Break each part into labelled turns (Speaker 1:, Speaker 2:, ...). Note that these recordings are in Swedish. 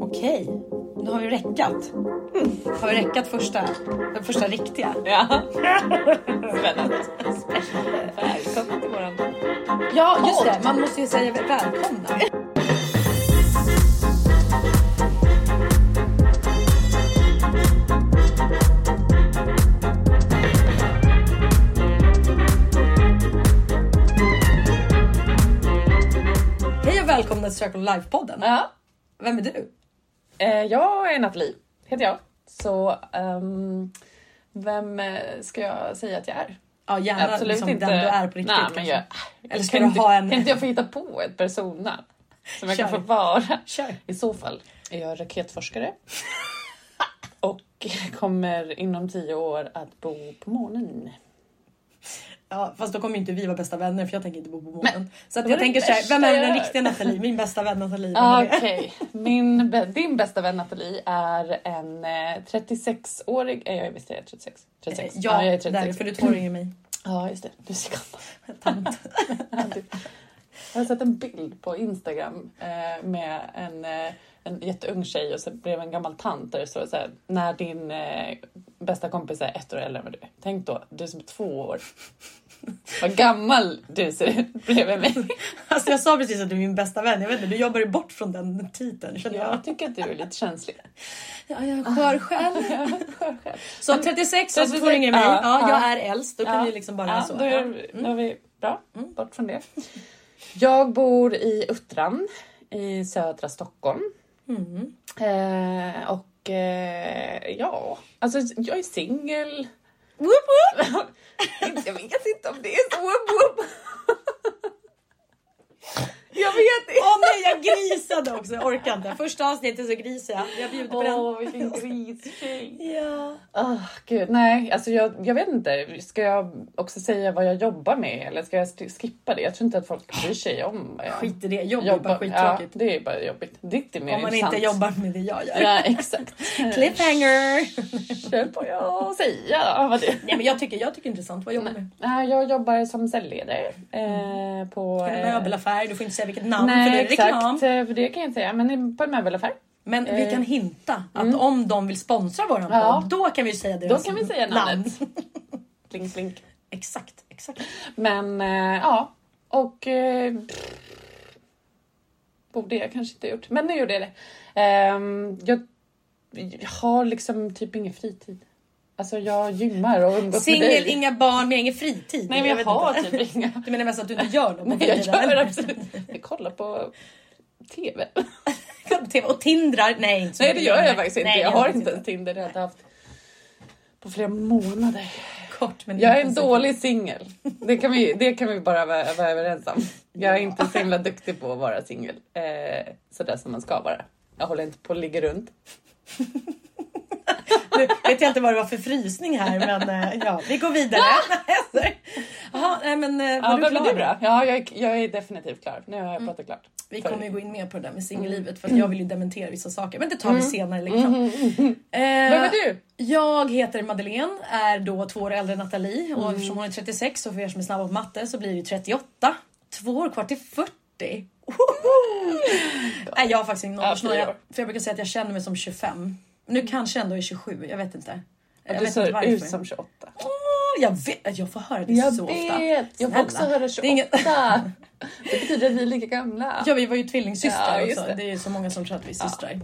Speaker 1: Okej, då har vi räckat.
Speaker 2: Mm.
Speaker 1: Har vi räckat första, den första riktiga?
Speaker 2: Ja. Spännande. Välkommen till våran
Speaker 1: Ja, just det. Man måste ju säga välkomna. Hej och välkomna till Circle Life-podden.
Speaker 2: Ja.
Speaker 1: Vem är du?
Speaker 2: Eh, jag är Nathalie, heter jag. Så ehm, vem eh, ska jag säga att jag är?
Speaker 1: Ja, gärna
Speaker 2: Absolut
Speaker 1: liksom
Speaker 2: inte.
Speaker 1: den du är på riktigt.
Speaker 2: Nej, men
Speaker 1: kanske.
Speaker 2: jag,
Speaker 1: Eller ska
Speaker 2: kan
Speaker 1: du
Speaker 2: inte-
Speaker 1: ha en-
Speaker 2: Kan inte jag få hitta på ett persona som jag kan
Speaker 1: Kör.
Speaker 2: få vara?
Speaker 1: Kör.
Speaker 2: I så fall är jag raketforskare och kommer inom tio år att bo på månen.
Speaker 1: Ja, fast då kommer ju inte vi vara bästa vänner för jag tänker inte bo på månen.
Speaker 2: Men-
Speaker 1: Så att
Speaker 2: det var
Speaker 1: jag
Speaker 2: det
Speaker 1: tänker så här,
Speaker 2: värsta
Speaker 1: vem är
Speaker 2: jag
Speaker 1: den
Speaker 2: hört.
Speaker 1: riktiga Nathalie? Min bästa vän Nathalie. vem är det?
Speaker 2: Ah, Okej, Min bä- din bästa vän Nathalie är en eh, 36-årig... Eh, jag visst är jag 36? 36.
Speaker 1: Ja,
Speaker 2: jag
Speaker 1: där,
Speaker 2: är 36.
Speaker 1: för du är två år yngre än mig.
Speaker 2: Ja, just det. Du ser gammal
Speaker 1: Tant.
Speaker 2: ut. Jag har sett en bild på Instagram eh, med en, eh, en jätteung tjej och så bredvid en gammal tant där det står så här, när din eh, bästa kompis är ett år äldre än vad du är. Tänk då, du som är två år. Vad gammal du ser ut bredvid mig.
Speaker 1: Alltså jag sa precis att du är min bästa vän. Jag vet inte, du jobbar ju bort från den titeln känner jag. Ah.
Speaker 2: Jag tycker att du är lite känslig.
Speaker 1: Ja, jag är skör själv.
Speaker 2: Skör själv.
Speaker 1: Så 36 och så
Speaker 2: 36,
Speaker 1: två år yngre än mig.
Speaker 2: ja,
Speaker 1: Ja, jag
Speaker 2: ja.
Speaker 1: är äldst. Då kan vi liksom bara
Speaker 2: ja,
Speaker 1: så.
Speaker 2: Då,
Speaker 1: ja.
Speaker 2: är, då är vi bra, bort från det. Jag bor i Uttran i södra Stockholm.
Speaker 1: Mm.
Speaker 2: Eh, och eh, ja, alltså jag är singel.
Speaker 1: Woop, woop.
Speaker 2: jag vet inte om det är så woop woop. jag vet inte.
Speaker 1: Åh nej, jag grisade också. Jag orkar inte. Första avsnittet så grisade jag. Jag bjuder på
Speaker 2: Åh,
Speaker 1: den.
Speaker 2: vilken gristjej.
Speaker 1: Ja.
Speaker 2: Ah, gud, nej, alltså jag, jag vet inte. Ska jag också säga vad jag jobbar med eller ska jag sk- skippa det? Jag tror inte att folk bryr sig om eh, vad jag
Speaker 1: Skit i det. Jobb är bara
Speaker 2: ja,
Speaker 1: skittråkigt.
Speaker 2: det är bara jobbigt. Ditt är mer
Speaker 1: Om man
Speaker 2: intressant.
Speaker 1: inte jobbar med det jag gör.
Speaker 2: Ja, exakt.
Speaker 1: Cliffhanger!
Speaker 2: Kör på jag att säga vad det
Speaker 1: Nej men jag tycker, jag tycker det är intressant. Vad jobbar du med?
Speaker 2: Nej, Jag jobbar som säljledare eh, på...
Speaker 1: En
Speaker 2: eh,
Speaker 1: möbelaffär, du får inte säga vilket namn
Speaker 2: Nej,
Speaker 1: för det är
Speaker 2: exakt.
Speaker 1: reklam.
Speaker 2: eh, För det kan jag inte säga. Men på en möbelaffär.
Speaker 1: Men vi kan hinta att om de vill sponsra våran
Speaker 2: mm. Ja.
Speaker 1: podd, då kan vi säga deras
Speaker 2: Då kan vi säga namnet. Blink, blink.
Speaker 1: Exakt, exakt.
Speaker 2: Men eh, ja, och... Eh, pff, borde jag kanske inte ha gjort, men nu gjorde jag det. Ehm, jag, jag har liksom typ ingen fritid. Alltså jag gymmar och umgås med dig.
Speaker 1: Singel, inga barn, men ingen fritid.
Speaker 2: Nej men jag,
Speaker 1: vet
Speaker 2: har
Speaker 1: inte.
Speaker 2: typ inga.
Speaker 1: Du menar mest att du inte gör något på
Speaker 2: Nej, jag
Speaker 1: fritiden?
Speaker 2: gör
Speaker 1: eller?
Speaker 2: absolut Jag kollar på TV.
Speaker 1: TV och tindrar? Nej, inte så
Speaker 2: Nej det
Speaker 1: mycket
Speaker 2: gör
Speaker 1: längre.
Speaker 2: jag faktiskt inte.
Speaker 1: Nej,
Speaker 2: jag har
Speaker 1: faktiskt
Speaker 2: inte ens Tinder. Det har jag inte haft på flera månader.
Speaker 1: Kort, men
Speaker 2: Jag är en
Speaker 1: intensivt.
Speaker 2: dålig singel. Det, kan vi- det kan vi bara vara, vara överens om. Jag är inte så himla duktig på att vara singel. Eh, sådär som man ska vara. Jag håller inte på att ligga runt.
Speaker 1: Nu vet jag inte vad det var för frysning här, men eh, ja, vi går vidare. Jaha, nej men eh, var
Speaker 2: Ja,
Speaker 1: du
Speaker 2: vad blir
Speaker 1: klar?
Speaker 2: du då? Ja, jag, är- Mm. jag är definitivt klar. Nu har jag pratat klart.
Speaker 1: Vi
Speaker 2: För- Mm.
Speaker 1: kommer ju gå in mer på det där med singellivet för att jag vill ju dementera vissa saker. Men det tar vi senare. Liksom.
Speaker 2: Mm. Vem är
Speaker 1: Eh,
Speaker 2: du?
Speaker 1: Jag heter Madeleine, är då två år äldre än Nathalie och
Speaker 2: Mm.
Speaker 1: eftersom hon är 36 så för er som är snabba på matte så blir det ju 38. Två år kvar till 40. Woho! Nej jag har faktiskt ingen
Speaker 2: Ja,
Speaker 1: ålderssnöre.
Speaker 2: fyra år.
Speaker 1: För jag brukar säga att jag känner mig som 25. Nu kanske jag ändå är 27, jag vet inte. Jag
Speaker 2: Du
Speaker 1: vet inte
Speaker 2: ser
Speaker 1: varför.
Speaker 2: ut som 28.
Speaker 1: Åh, jag vet, jag får höra det så ofta.
Speaker 2: Jag
Speaker 1: Snälla.
Speaker 2: får också höra
Speaker 1: Det är inget-
Speaker 2: 28. Det betyder att vi är lika gamla.
Speaker 1: Ja vi var ju tvillingsystrar
Speaker 2: Ja, just
Speaker 1: också. Det.
Speaker 2: det.
Speaker 1: är ju så många som tror att vi är systrar. Eh,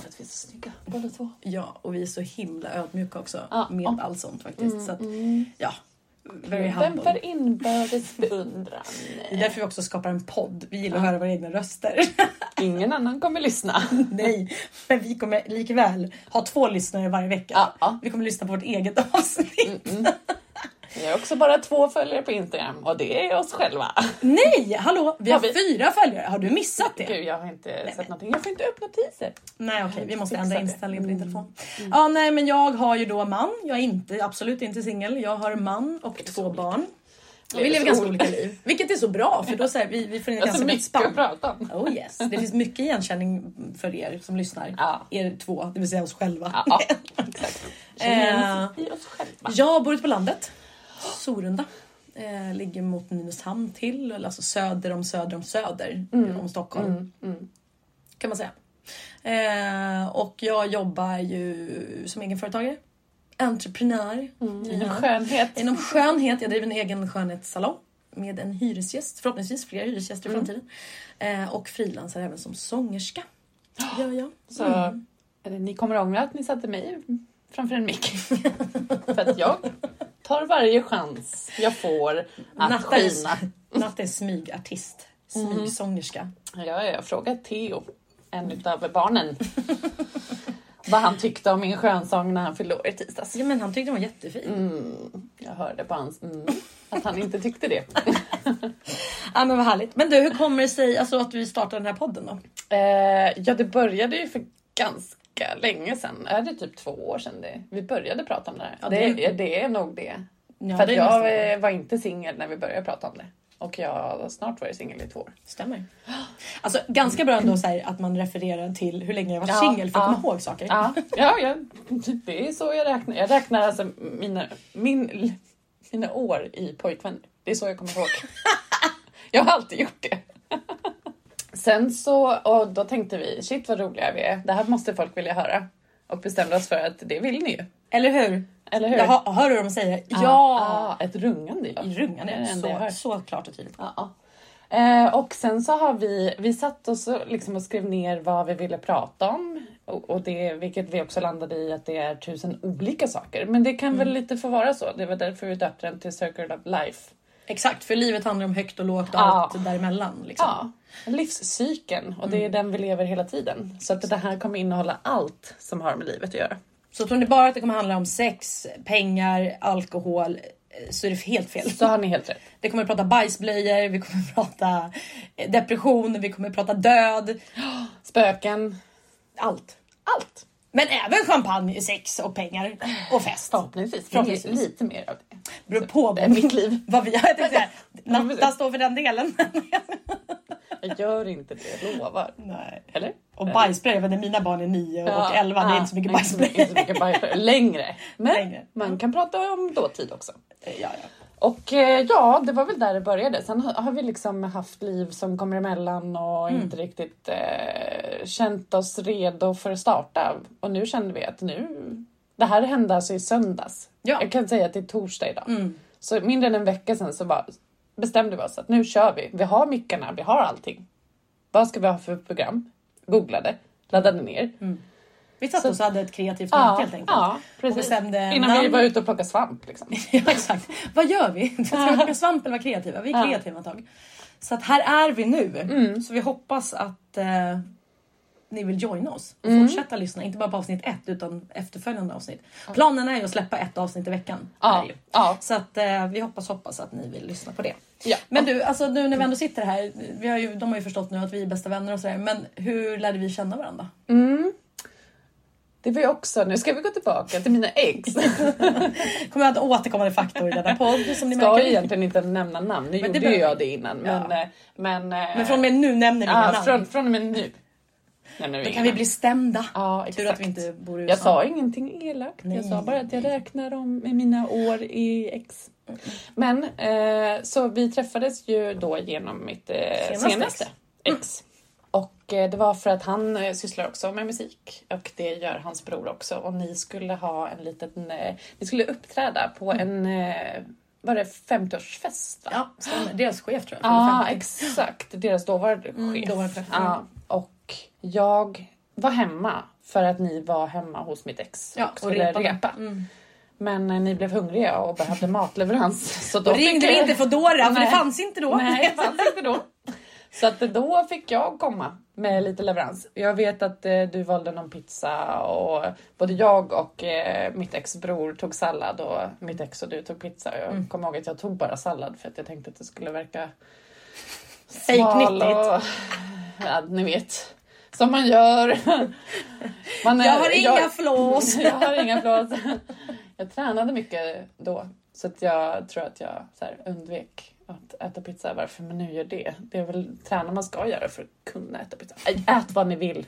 Speaker 2: för att vi är så snygga båda två.
Speaker 1: Ja, och vi är så himla ödmjuka också
Speaker 2: Ja,
Speaker 1: med
Speaker 2: ja.
Speaker 1: allt sånt faktiskt. så att, ja, very
Speaker 2: Vem
Speaker 1: humble.
Speaker 2: för inbördes beundran?
Speaker 1: Det är därför vi också skapar en podd. Vi gillar att höra våra egna röster.
Speaker 2: Ingen annan kommer lyssna.
Speaker 1: Nej, men vi kommer likväl ha två lyssnare varje vecka.
Speaker 2: Ja, ja. Mm.
Speaker 1: Vi kommer lyssna på vårt eget avsnitt.
Speaker 2: Vi har också bara två följare på Instagram och det är oss själva.
Speaker 1: Nej, hallå! Vi har,
Speaker 2: Har vi-
Speaker 1: fyra följare. Har du missat det?
Speaker 2: Gud, jag har inte sett någonting. Jag får inte upp notiser.
Speaker 1: Nej, okej, vi måste
Speaker 2: Fixa
Speaker 1: ändra
Speaker 2: det. Mm.
Speaker 1: inställningen på din telefon. Ja, nej, men jag har ju då man. Jag är inte, absolut inte singel. Jag har man och två barn. Och vi
Speaker 2: Det är
Speaker 1: lever
Speaker 2: så
Speaker 1: ganska
Speaker 2: olika.
Speaker 1: olika liv, vilket är så bra för då så här, vi, vi får in ett
Speaker 2: Jag
Speaker 1: ganska
Speaker 2: har så
Speaker 1: brett
Speaker 2: mycket att
Speaker 1: spann.
Speaker 2: prata om.
Speaker 1: Oh yes, det finns mycket igenkänning för er som lyssnar.
Speaker 2: Ja.
Speaker 1: Er två, det vill säga oss själva.
Speaker 2: Ja, ja, exakt.
Speaker 1: Eh,
Speaker 2: I oss själva.
Speaker 1: Jag bor ute på landet. Sorunda. Eh, ligger mot Nynäshamn mm,
Speaker 2: Mm.
Speaker 1: till, eller alltså söder om söder om söder om Stockholm. Kan man säga. Eh, och jag jobbar ju som egenföretagare, entreprenör.
Speaker 2: Inom skönhet.
Speaker 1: Inom skönhet, jag driver en egen skönhetssalong med en hyresgäst, förhoppningsvis fler hyresgäster i framtiden. Eh, och frilansar även som sångerska. Ja, ja.
Speaker 2: Så
Speaker 1: Mm.
Speaker 2: eller, ni kommer ångra att ni satte mig framför en mick. För att jag tar varje chans jag får att
Speaker 1: Natta är,
Speaker 2: skina. Mm.
Speaker 1: Natta är smygartist, smygsångerska.
Speaker 2: Ja, jag frågade Theo, en utav barnen, vad han tyckte om min skönsång när han fyllde år i tisdags.
Speaker 1: Ja, men han tyckte den var jättefin.
Speaker 2: Mm, jag hörde på hans mm, att han inte tyckte det.
Speaker 1: Ja, men vad härligt. Men du, hur kommer det sig alltså, att vi startade den här podden då?
Speaker 2: Eh, ja, det började ju för ganska länge sedan. Är det typ två år sedan det, vi började prata om det här?
Speaker 1: Ja,
Speaker 2: det,
Speaker 1: det-
Speaker 2: det, är nog det.
Speaker 1: Ja,
Speaker 2: för
Speaker 1: det
Speaker 2: att
Speaker 1: är nästan
Speaker 2: jag
Speaker 1: det.
Speaker 2: eh, var inte singel när vi började prata om det. Och jag har snart varit singel i två år.
Speaker 1: Stämmer. Alltså ganska bra ändå så här, att man refererar till hur länge jag var
Speaker 2: Ja,
Speaker 1: singel för att
Speaker 2: ja.
Speaker 1: komma ihåg saker.
Speaker 2: Ja, ja, ja det är så jag räknar. Jag räknar alltså mina, min, mina år i pojkvänner. Det är så jag kommer ihåg. Jag har alltid gjort det. Sen så, och då tänkte vi, shit vad roliga vi är. Det här måste folk vilja höra. Och bestämde oss för att det vill ni ju.
Speaker 1: Eller hur?
Speaker 2: Eller hur?
Speaker 1: Jag hör, hör hur de säger ja.
Speaker 2: Ja, ett rungande ja.
Speaker 1: I rungan
Speaker 2: Det är det
Speaker 1: är
Speaker 2: enda
Speaker 1: så,
Speaker 2: jag hör.
Speaker 1: så klart och tydligt.
Speaker 2: Ja, ja. Eh, och sen så har vi, vi satt oss och, liksom och skrev ner vad vi ville prata om. Och, och det, vilket vi också landade i att det är tusen olika saker. Men det kan väl lite få vara så. Det var därför vi döpte den till Circle of Life.
Speaker 1: Exakt, för livet handlar om högt och lågt och
Speaker 2: Ja.
Speaker 1: allt däremellan. Liksom.
Speaker 2: Ja, Mm. livscykeln. Och det är den vi lever hela tiden. Så att det här kommer innehålla allt som har med livet att göra.
Speaker 1: Så tror ni bara att det kommer handla om sex, pengar, alkohol eh, så är det helt fel.
Speaker 2: Så har ni helt rätt.
Speaker 1: Det kommer att prata bajsblöjor, vi kommer att prata eh, depression, vi kommer att prata död.
Speaker 2: Spöken.
Speaker 1: Allt.
Speaker 2: Allt.
Speaker 1: Men även champagne, sex och pengar och fest.
Speaker 2: Förhoppningsvis.
Speaker 1: Förhoppningsvis.
Speaker 2: Lite mer av det.
Speaker 1: Beror på
Speaker 2: Det är mitt liv.
Speaker 1: vad vi har. Jag tänkte säga, Natta
Speaker 2: precis.
Speaker 1: står för den delen.
Speaker 2: Jag gör inte det, jag lovar.
Speaker 1: Nej.
Speaker 2: Eller?
Speaker 1: Och bajsblöjor, men mina barn är 9 och 11, det är inte så mycket
Speaker 2: Ah, nej, inte
Speaker 1: bajsblöjor.
Speaker 2: inte så mycket bajsblöjor. Längre. Men
Speaker 1: Längre.
Speaker 2: man kan prata om dåtid också.
Speaker 1: Ja, ja.
Speaker 2: Och eh, ja, det var väl där det började. Sen har har vi liksom haft liv som kommer emellan och
Speaker 1: Mm.
Speaker 2: inte riktigt eh, känt oss redo för att starta. Och nu känner vi att nu... Det här hände alltså i söndags.
Speaker 1: Ja. Mm.
Speaker 2: Jag kan säga att det är torsdag idag. Så mindre än en vecka sedan så bara bestämde vi oss att nu kör vi. Vi har mickarna, vi har allting. Vad ska vi ha för program? Googlade, laddade ner.
Speaker 1: Vi satt oss och hade ett kreativt möte
Speaker 2: Ja,
Speaker 1: helt enkelt.
Speaker 2: ja
Speaker 1: Och
Speaker 2: precis.
Speaker 1: bestämde
Speaker 2: Innan vi
Speaker 1: namn.
Speaker 2: var ute och plockade svamp. Liksom.
Speaker 1: Ja, exakt. Vad gör vi? Ska vi plocka svamp eller vara kreativa? Vi är kreativa ett tag. Så att här är vi nu.
Speaker 2: Mm.
Speaker 1: Så vi hoppas att eh, ni vill joina oss och
Speaker 2: Mm.
Speaker 1: fortsätta lyssna. Inte bara på avsnitt ett utan efterföljande avsnitt. Planen är ju att släppa ett avsnitt i veckan.
Speaker 2: Ja,
Speaker 1: Är ju.
Speaker 2: ja.
Speaker 1: Så att eh, vi hoppas, hoppas att ni vill lyssna på det.
Speaker 2: Ja.
Speaker 1: Men du, alltså nu när vi ändå sitter här. Vi har ju, de har ju förstått nu att vi är bästa vänner och sådär. Men hur lärde vi känna varandra?
Speaker 2: Mm. Det var ju också, nu ska vi gå tillbaka till mina ex.
Speaker 1: Kommer att återkommande faktor i denna podd som ni
Speaker 2: Ska ju
Speaker 1: märker.
Speaker 2: egentligen inte nämna namn,
Speaker 1: Men
Speaker 2: nu
Speaker 1: det
Speaker 2: gjorde ju
Speaker 1: behöver-
Speaker 2: jag det innan. Men, eh, men, eh,
Speaker 1: Men från och med nu nämner vi inga namn.
Speaker 2: Från, från och med nu. nämner
Speaker 1: Då
Speaker 2: inga
Speaker 1: kan vi
Speaker 2: namn.
Speaker 1: bli stämda.
Speaker 2: Ja,
Speaker 1: Tur
Speaker 2: exakt.
Speaker 1: att vi inte bor i USA.
Speaker 2: Jag sa ingenting elakt.
Speaker 1: Nej.
Speaker 2: Jag sa bara att jag räknar om med mina år i ex. Men eh, så vi träffades ju då genom mitt eh,
Speaker 1: Senaste
Speaker 2: senaste, ex. Och eh, det var för att han eh, sysslar också med musik och det gör hans bror också. Och ni skulle ha en liten, eh, ni skulle uppträda på en, eh, var det 50-årsfest? va?
Speaker 1: Mm. Ja, stämmer. Deras chef tror jag.
Speaker 2: Ja,
Speaker 1: Eller
Speaker 2: Ah. exakt. Ah. Deras dåvarande chef.
Speaker 1: Mm, dåvarande chef.
Speaker 2: Ja, och jag var hemma för att ni var hemma hos mitt ex
Speaker 1: Ja, och Mm.
Speaker 2: skulle
Speaker 1: repade.
Speaker 2: repa. Men eh, ni blev hungriga och behövde matleverans. Så då
Speaker 1: Och ringde
Speaker 2: fick
Speaker 1: vi
Speaker 2: jag-
Speaker 1: inte Foodora för det
Speaker 2: Nej.
Speaker 1: fanns inte då.
Speaker 2: Nej, det fanns inte då. Så att då fick jag komma med lite leverans. Jag vet att eh, du valde någon pizza och både jag och eh, mitt ex bror tog sallad och mitt ex och du tog pizza. Jag kommer ihåg att jag tog bara sallad för att jag tänkte att det skulle verka smal
Speaker 1: Fejknyttigt.
Speaker 2: och- Ja, ni vet. Som man gör. Man är-
Speaker 1: Jag har inga flås.
Speaker 2: jag har inga flås. Jag tränade mycket då. Så att jag tror att jag så här, undvek att äta pizza. Varför man nu gör det. Det är väl träna man ska göra för att kunna äta pizza. Ä- Ät vad ni vill.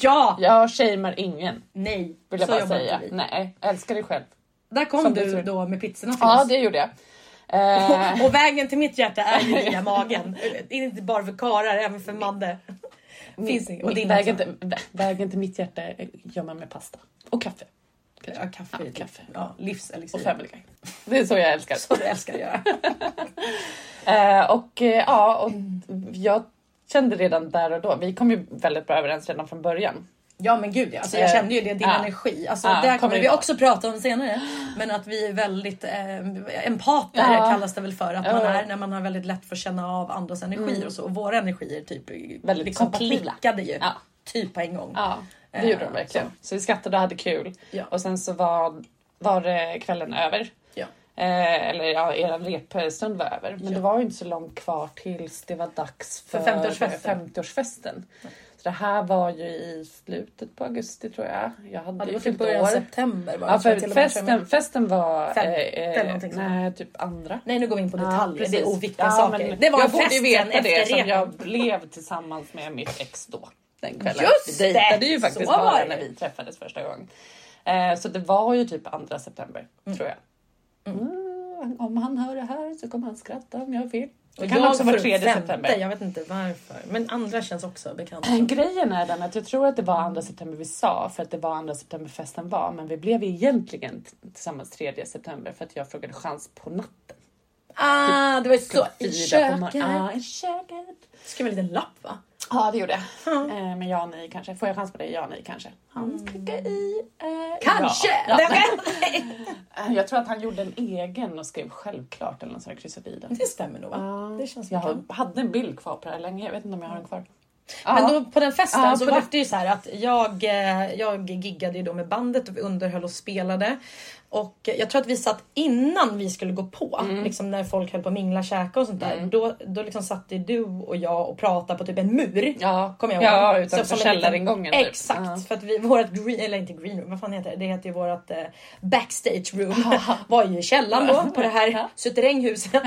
Speaker 1: Ja,
Speaker 2: Jag shamear ingen.
Speaker 1: nej.
Speaker 2: Vill jag
Speaker 1: så
Speaker 2: bara
Speaker 1: jobbar
Speaker 2: säga.
Speaker 1: inte vi.
Speaker 2: Nej, älskar dig själv.
Speaker 1: Där kom
Speaker 2: Som
Speaker 1: du
Speaker 2: du tror.
Speaker 1: då med pizzorna till
Speaker 2: Ja,
Speaker 1: oss.
Speaker 2: det gjorde jag. Eh,
Speaker 1: Och vägen till mitt hjärta är ju via magen. Det är inte bara för karlar, även för Madde. Finns inget. Och
Speaker 2: Och
Speaker 1: din
Speaker 2: vägen,
Speaker 1: också.
Speaker 2: till, vä- vägen till mitt hjärta eh, gör man med pasta. Och kaffe. kanske.
Speaker 1: Ja, kaffe. typ-
Speaker 2: Ja, kaffe.
Speaker 1: Ja, livselixir.
Speaker 2: Och Family Guy. Det är så jag älskar.
Speaker 1: Så du älskar att göra.
Speaker 2: Eh, och eh, ja, och jag kände redan där och då, vi kom ju väldigt bra överens redan från början.
Speaker 1: Ja men gud ja. Alltså, jag
Speaker 2: Eh,
Speaker 1: kände ju det, din
Speaker 2: ja.
Speaker 1: energi. Alltså,
Speaker 2: Ja,
Speaker 1: det här
Speaker 2: kommer
Speaker 1: kommer vi
Speaker 2: in.
Speaker 1: också prata om senare. Men att vi är väldigt eh, empater
Speaker 2: Ja.
Speaker 1: kallas det väl för att man
Speaker 2: Ja. Mm.
Speaker 1: är när man har väldigt lätt för att känna av andras energier och så. Och våra energier typ
Speaker 2: Väldigt
Speaker 1: liksom
Speaker 2: kompatibla.
Speaker 1: klickade ju.
Speaker 2: Ja.
Speaker 1: Typ på en gång.
Speaker 2: Ja, det
Speaker 1: Eh,
Speaker 2: gjorde de verkligen. Så vi skrattade och hade kul.
Speaker 1: Ja.
Speaker 2: Och sen så var, var eh, kvällen över.
Speaker 1: Ja.
Speaker 2: Eh, eller ja, er repstund var över. Men
Speaker 1: Ja.
Speaker 2: det var ju inte så långt kvar tills det var dags för,
Speaker 1: För 50-årsfesten.
Speaker 2: 50-årsfesten. Så det här var ju i slutet på augusti tror jag. Jag hade
Speaker 1: Ja, det
Speaker 2: ju
Speaker 1: var typ
Speaker 2: fyllt
Speaker 1: början av
Speaker 2: år.
Speaker 1: september. Var
Speaker 2: Ja,
Speaker 1: tror jag
Speaker 2: för
Speaker 1: till och med.
Speaker 2: festen, festen var... eh,
Speaker 1: Femte eller någonting sånt.
Speaker 2: nej, typ andra.
Speaker 1: Nej nu går vi in på detaljer.
Speaker 2: precis.
Speaker 1: det är oviktiga
Speaker 2: Ja,
Speaker 1: saker.
Speaker 2: men
Speaker 1: Det var
Speaker 2: jag
Speaker 1: en
Speaker 2: borde ju
Speaker 1: festen efter
Speaker 2: veta det
Speaker 1: det,
Speaker 2: som jag blev tillsammans med mitt ex då. Den kvällen.
Speaker 1: Just
Speaker 2: vi
Speaker 1: det!
Speaker 2: dejtade ju faktiskt
Speaker 1: Så var
Speaker 2: bara
Speaker 1: det.
Speaker 2: när vi träffades första gången. Eh, så det var ju typ 2 september, tror jag. Mm, om han hör det här så kommer han skratta om jag har fel. Det kan
Speaker 1: jag
Speaker 2: också vara
Speaker 1: får
Speaker 2: 3
Speaker 1: femte,
Speaker 2: september.
Speaker 1: Jag vet inte varför. Men andra känns också bekant.
Speaker 2: Grejen är den att jag tror att det var 2 september vi sa för att det var 2 september festen var men vi blev egentligen t- tillsammans 3 september för att jag frågade chans på natten.
Speaker 1: Ah, det var ju så.
Speaker 2: Klockan
Speaker 1: I
Speaker 2: fyra på
Speaker 1: köket.
Speaker 2: morgonen. Ja, i köket.
Speaker 1: Skrev en liten lapp va?
Speaker 2: Ja, det gjorde jag. Eh, men ja, nej, kanske. Får jag chans på det? Ja, nej, kanske. Han klickade i. Eh,
Speaker 1: Mm. Kanske!
Speaker 2: Ja.
Speaker 1: Det
Speaker 2: Ja.
Speaker 1: var-
Speaker 2: Eh, Jag tror att han gjorde en egen och skrev självklart eller något sånt, där, kryssade i den.
Speaker 1: Det stämmer nog va? Det känns
Speaker 2: Jag
Speaker 1: bekant.
Speaker 2: har- hade en bild kvar på det här länge. Jag vet inte om jag har den kvar.
Speaker 1: Men då på den festen
Speaker 2: Ja,
Speaker 1: så
Speaker 2: på
Speaker 1: var
Speaker 2: den-
Speaker 1: det ju så här att jag, eh, jag giggade ju då med bandet och vi underhöll och spelade. Och jag tror att vi satt innan vi skulle gå på, liksom när folk höll på att mingla, käka och sånt där. Då, då liksom satt ju du och jag och pratade på typ en mur.
Speaker 2: Ja,
Speaker 1: Kommer jag ihåg.
Speaker 2: ja
Speaker 1: Så-
Speaker 2: utanför
Speaker 1: som en liten-
Speaker 2: källaringången. typ.
Speaker 1: Exakt,
Speaker 2: Ja.
Speaker 1: för att vi, vårat green, eller inte green room, vad fan heter det? Det heter ju vårat eh, backstage room. var ju i källaren då på det här suterränghuset.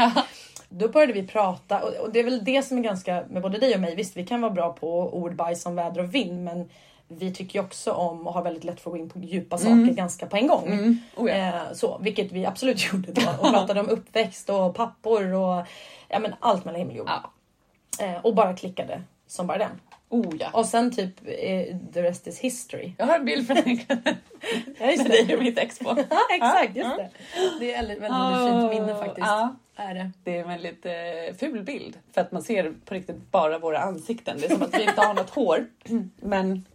Speaker 1: Då började vi prata och, och det är väl det som är ganska med både dig och mig. Visst, vi kan vara bra på ord, bajs om väder och vind, men vi tycker ju också om och har väldigt lätt för att gå in på djupa saker ganska på en gång.
Speaker 2: Mm. Oh, ja.
Speaker 1: Eh, så, vilket vi absolut gjorde då och pratade om uppväxt och pappor och ja, men allt mellan himmel och jord.
Speaker 2: Ja.
Speaker 1: Eh, och bara klickade som bara den.
Speaker 2: Oh, ja.
Speaker 1: Och sen typ eh, the rest is history.
Speaker 2: Jag har en bild från den kvällen.
Speaker 1: Ja just
Speaker 2: Det är ju mitt ex på.
Speaker 1: Ja exakt, just det. Det är ett väldigt, väldigt fint minne faktiskt.
Speaker 2: Ja.
Speaker 1: Är det.
Speaker 2: Det är en väldigt eh, ful bild för att man ser på riktigt bara våra ansikten. Det är som att vi inte har något hår. Men,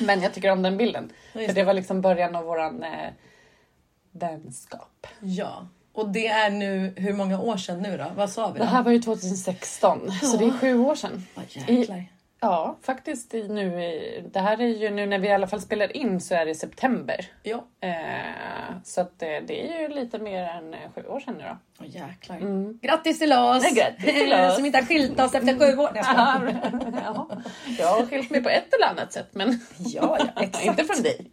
Speaker 2: men jag tycker om den bilden.
Speaker 1: just
Speaker 2: För det var liksom början av våran eh, vänskap.
Speaker 1: Ja. Och det är nu, hur många år sedan nu då? Vad sa vi?
Speaker 2: Det
Speaker 1: Då?
Speaker 2: här var ju 2016 så det är sju år sedan.
Speaker 1: Åh, jäklar.
Speaker 2: Ja, faktiskt i- nu i, det här är ju nu när vi i alla fall spelar in så är det september.
Speaker 1: Ja.
Speaker 2: Eh, så att det, det är ju lite mer än eh, sju år sedan nu då.
Speaker 1: Åh, jäklar. Grattis till oss! Eh,
Speaker 2: Mm. Nej, grattis till oss.
Speaker 1: Som inte har skilt oss efter sju år. Nej, jag skojar.
Speaker 2: ja, jag har skilt mig på ett eller annat sätt men
Speaker 1: ja, ja, exakt.
Speaker 2: Inte från dig.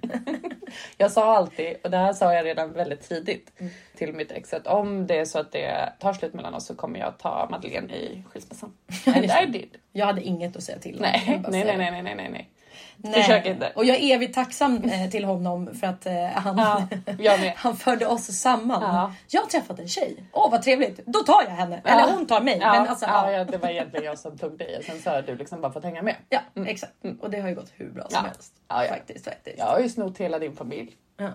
Speaker 2: jag sa alltid, och det här sa jag redan väldigt tidigt
Speaker 1: Mm.
Speaker 2: till mitt ex, att om det är så att det tar slut mellan oss så kommer jag ta Madeleine i skilsmässan. And I did.
Speaker 1: Jag hade inget att säga till om. Jag
Speaker 2: Nej,
Speaker 1: bara
Speaker 2: nej,
Speaker 1: säger-
Speaker 2: nej, nej, nej, nej, nej.
Speaker 1: Nej.
Speaker 2: Försök inte.
Speaker 1: Och jag är evigt tacksam eh, till honom för att eh, han,
Speaker 2: Ja, jag med.
Speaker 1: han förde oss samman.
Speaker 2: Ja.
Speaker 1: Jag har träffat en tjej. Åh vad trevligt! Då tar jag henne. Eller hon tar mig.
Speaker 2: Ja,
Speaker 1: men alltså,
Speaker 2: ja,
Speaker 1: ja.
Speaker 2: ja, det var egentligen jag som tog dig och sen så har du liksom bara fått hänga med.
Speaker 1: Ja, exakt. Och det har ju gått hur bra som
Speaker 2: Mm. Ja.
Speaker 1: helst.
Speaker 2: Ja, ja.
Speaker 1: Faktiskt, faktiskt.
Speaker 2: Jag har ju snott hela din familj.
Speaker 1: Ja.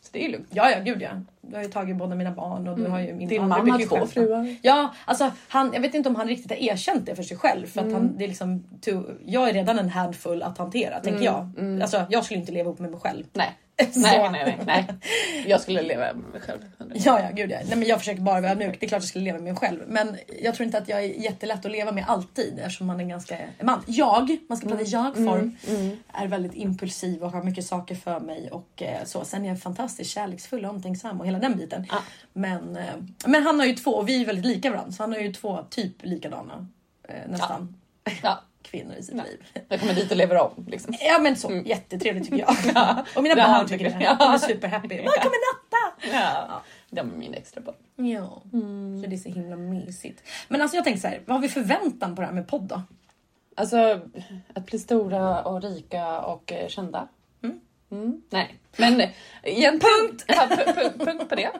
Speaker 2: Så det är ju lugnt.
Speaker 1: Ja, ja, gud ja. Du har ju tagit båda mina barn och Mm. du har ju min
Speaker 2: Mm. Din
Speaker 1: man.
Speaker 2: man
Speaker 1: Du
Speaker 2: har
Speaker 1: brukar ju
Speaker 2: två
Speaker 1: skämta.
Speaker 2: fruar.
Speaker 1: Ja, alltså han, jag vet inte om han riktigt har erkänt det för sig själv. För att
Speaker 2: Mm.
Speaker 1: han, det är liksom, to, jag är redan en handfull att hantera,
Speaker 2: Mm.
Speaker 1: tänker jag. Alltså jag skulle inte leva ihop med mig själv.
Speaker 2: Nej.
Speaker 1: Så.
Speaker 2: Nej, nej, nej, nej. Jag skulle leva med mig själv.
Speaker 1: Ja, ja, gud ja. Nej, men jag försöker bara vara mjuk. Det är klart jag skulle leva med mig själv. Men jag tror inte att jag är jättelätt att leva med alltid eftersom man är ganska man. Jag, man ska prata
Speaker 2: Mm.
Speaker 1: i jag-form, är väldigt impulsiv och har mycket saker för mig och eh, så. Sen är jag fantastiskt kärleksfull och omtänksam och hela den biten.
Speaker 2: Ja.
Speaker 1: Men, eh, men han har ju två och vi är väldigt lika varandra så han har ju två typ likadana eh, nästan
Speaker 2: Ja,
Speaker 1: kvinnor i sitt liv.
Speaker 2: jag kommer dit och lever om liksom.
Speaker 1: Ja men så, jättetrevligt tycker jag. och mina
Speaker 2: det
Speaker 1: barn
Speaker 2: han
Speaker 1: tycker
Speaker 2: tycker.
Speaker 1: det.
Speaker 2: Ja.
Speaker 1: De är superhappy. Welcome Natta!
Speaker 2: Ja, det var min extra barn.
Speaker 1: Ja, så det är så himla mysigt. Men alltså jag tänker så här, vad har vi förväntan på det här med podd då?
Speaker 2: Alltså, att bli stora och rika och eh, kända. Mm, nej, men eh, igen, punkt. Ja, pu- pu- punkt på det.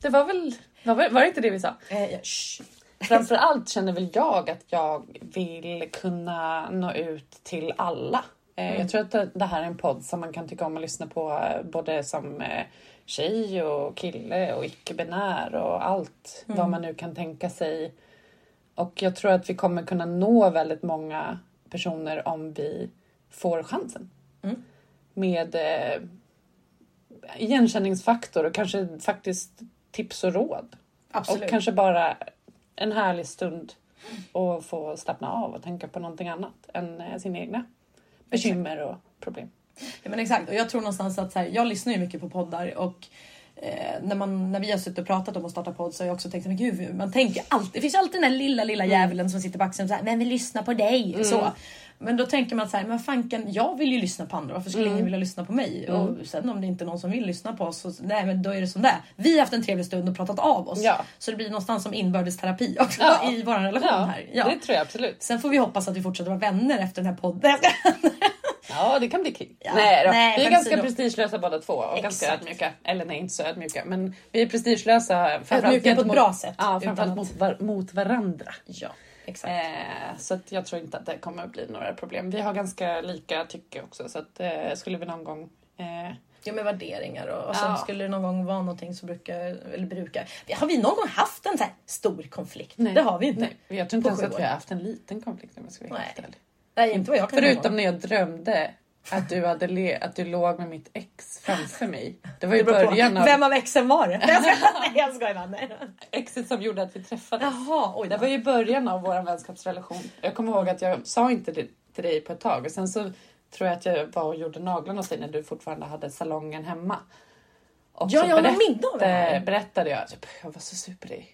Speaker 2: Det var väl, var, var det inte det vi sa?
Speaker 1: Eh, ja, shh.
Speaker 2: Framförallt känner väl jag att jag vill kunna nå ut till alla. Eh, Jag tror att det- det här är en podd som man kan tycka om att lyssna på eh, både som eh, tjej och kille och icke-binär och allt
Speaker 1: Mm.
Speaker 2: vad man nu kan tänka sig. Och jag tror att vi kommer kunna nå väldigt många personer om vi får chansen.
Speaker 1: Mm.
Speaker 2: Med eh, igenkänningsfaktor och kanske faktiskt tips och råd. Och
Speaker 1: Absolut.
Speaker 2: kanske bara en härlig stund och få slappna av och tänka på någonting annat än eh, sina egna bekymmer och problem.
Speaker 1: Ja, men exakt. Och jag tror någonstans att så här, jag lyssnar ju mycket på poddar och eh, när, man, när vi har suttit och pratat om att starta podd så har jag också tänkt men gud, man tänker alltid, det finns ju alltid den där lilla, lilla
Speaker 2: Mm.
Speaker 1: djävulen som sitter på axeln och så här, men vi lyssnar på dig. Så. Men då tänker man så här, men fanken, jag vill ju lyssna på andra, varför skulle
Speaker 2: Mm.
Speaker 1: ingen vilja lyssna på mig? Och sen om det inte är någon som vill lyssna på oss, så, nej men då är det som det är. Vi har haft en trevlig stund och pratat av oss.
Speaker 2: Ja.
Speaker 1: Så det blir någonstans som inbördes terapi också
Speaker 2: Ja.
Speaker 1: i vår relation
Speaker 2: Ja,
Speaker 1: här. Ja.
Speaker 2: det tror jag absolut.
Speaker 1: Sen får vi hoppas att vi fortsätter vara vänner efter den här podden.
Speaker 2: Ja, det kan bli kul.
Speaker 1: Ja.
Speaker 2: Nej, då.
Speaker 1: Nej,
Speaker 2: vi är
Speaker 1: men
Speaker 2: ganska
Speaker 1: så då-
Speaker 2: prestigelösa båda två och ganska
Speaker 1: Exakt.
Speaker 2: ödmjuka. Eller nej, inte så ödmjuka, men vi är prestigelösa. framförallt
Speaker 1: Ödmjuka på ett
Speaker 2: gentemot-
Speaker 1: bra sätt,
Speaker 2: Ja,
Speaker 1: utan
Speaker 2: framförallt
Speaker 1: att-
Speaker 2: mot, var- mot varandra.
Speaker 1: ja, exakt.
Speaker 2: Eh, så att jag tror inte att det kommer att bli några problem. Vi har ganska lika tycke också, så att, eh, skulle vi någon gång eh,
Speaker 1: Ja med värderingar och, och sen
Speaker 2: Ja.
Speaker 1: skulle det någon gång vara någonting som brukar, eller brukar. Har vi någon gång haft en så här stor konflikt?
Speaker 2: Nej.
Speaker 1: Det har vi inte.
Speaker 2: Nej, jag tror inte
Speaker 1: På
Speaker 2: ens
Speaker 1: sju
Speaker 2: att vi har haft en liten konflikt om jag ska vara
Speaker 1: Nej.
Speaker 2: helt ärlig.
Speaker 1: Nej, inte vad jag kan
Speaker 2: Förutom
Speaker 1: komma
Speaker 2: när jag drömde att du, hade le- att du låg med mitt ex framför mig. Det var ju
Speaker 1: ihåg. Det beror på.
Speaker 2: början av
Speaker 1: Vem av exen var det? Nej, jag skojar. Nej, jag skojar bara. Nej.
Speaker 2: exet som gjorde att vi träffades.
Speaker 1: Jaha, oj.
Speaker 2: Det var ju början av vår vänskapsrelation. Jag kommer ihåg att jag sa inte det till dig på ett tag och sen så tror jag att jag var och gjorde naglarna hos dig när du fortfarande hade salongen hemma. Och
Speaker 1: Ja,
Speaker 2: så
Speaker 1: jag har
Speaker 2: berätt-
Speaker 1: minne av det här.
Speaker 2: berättade jag typ, jag var så superig.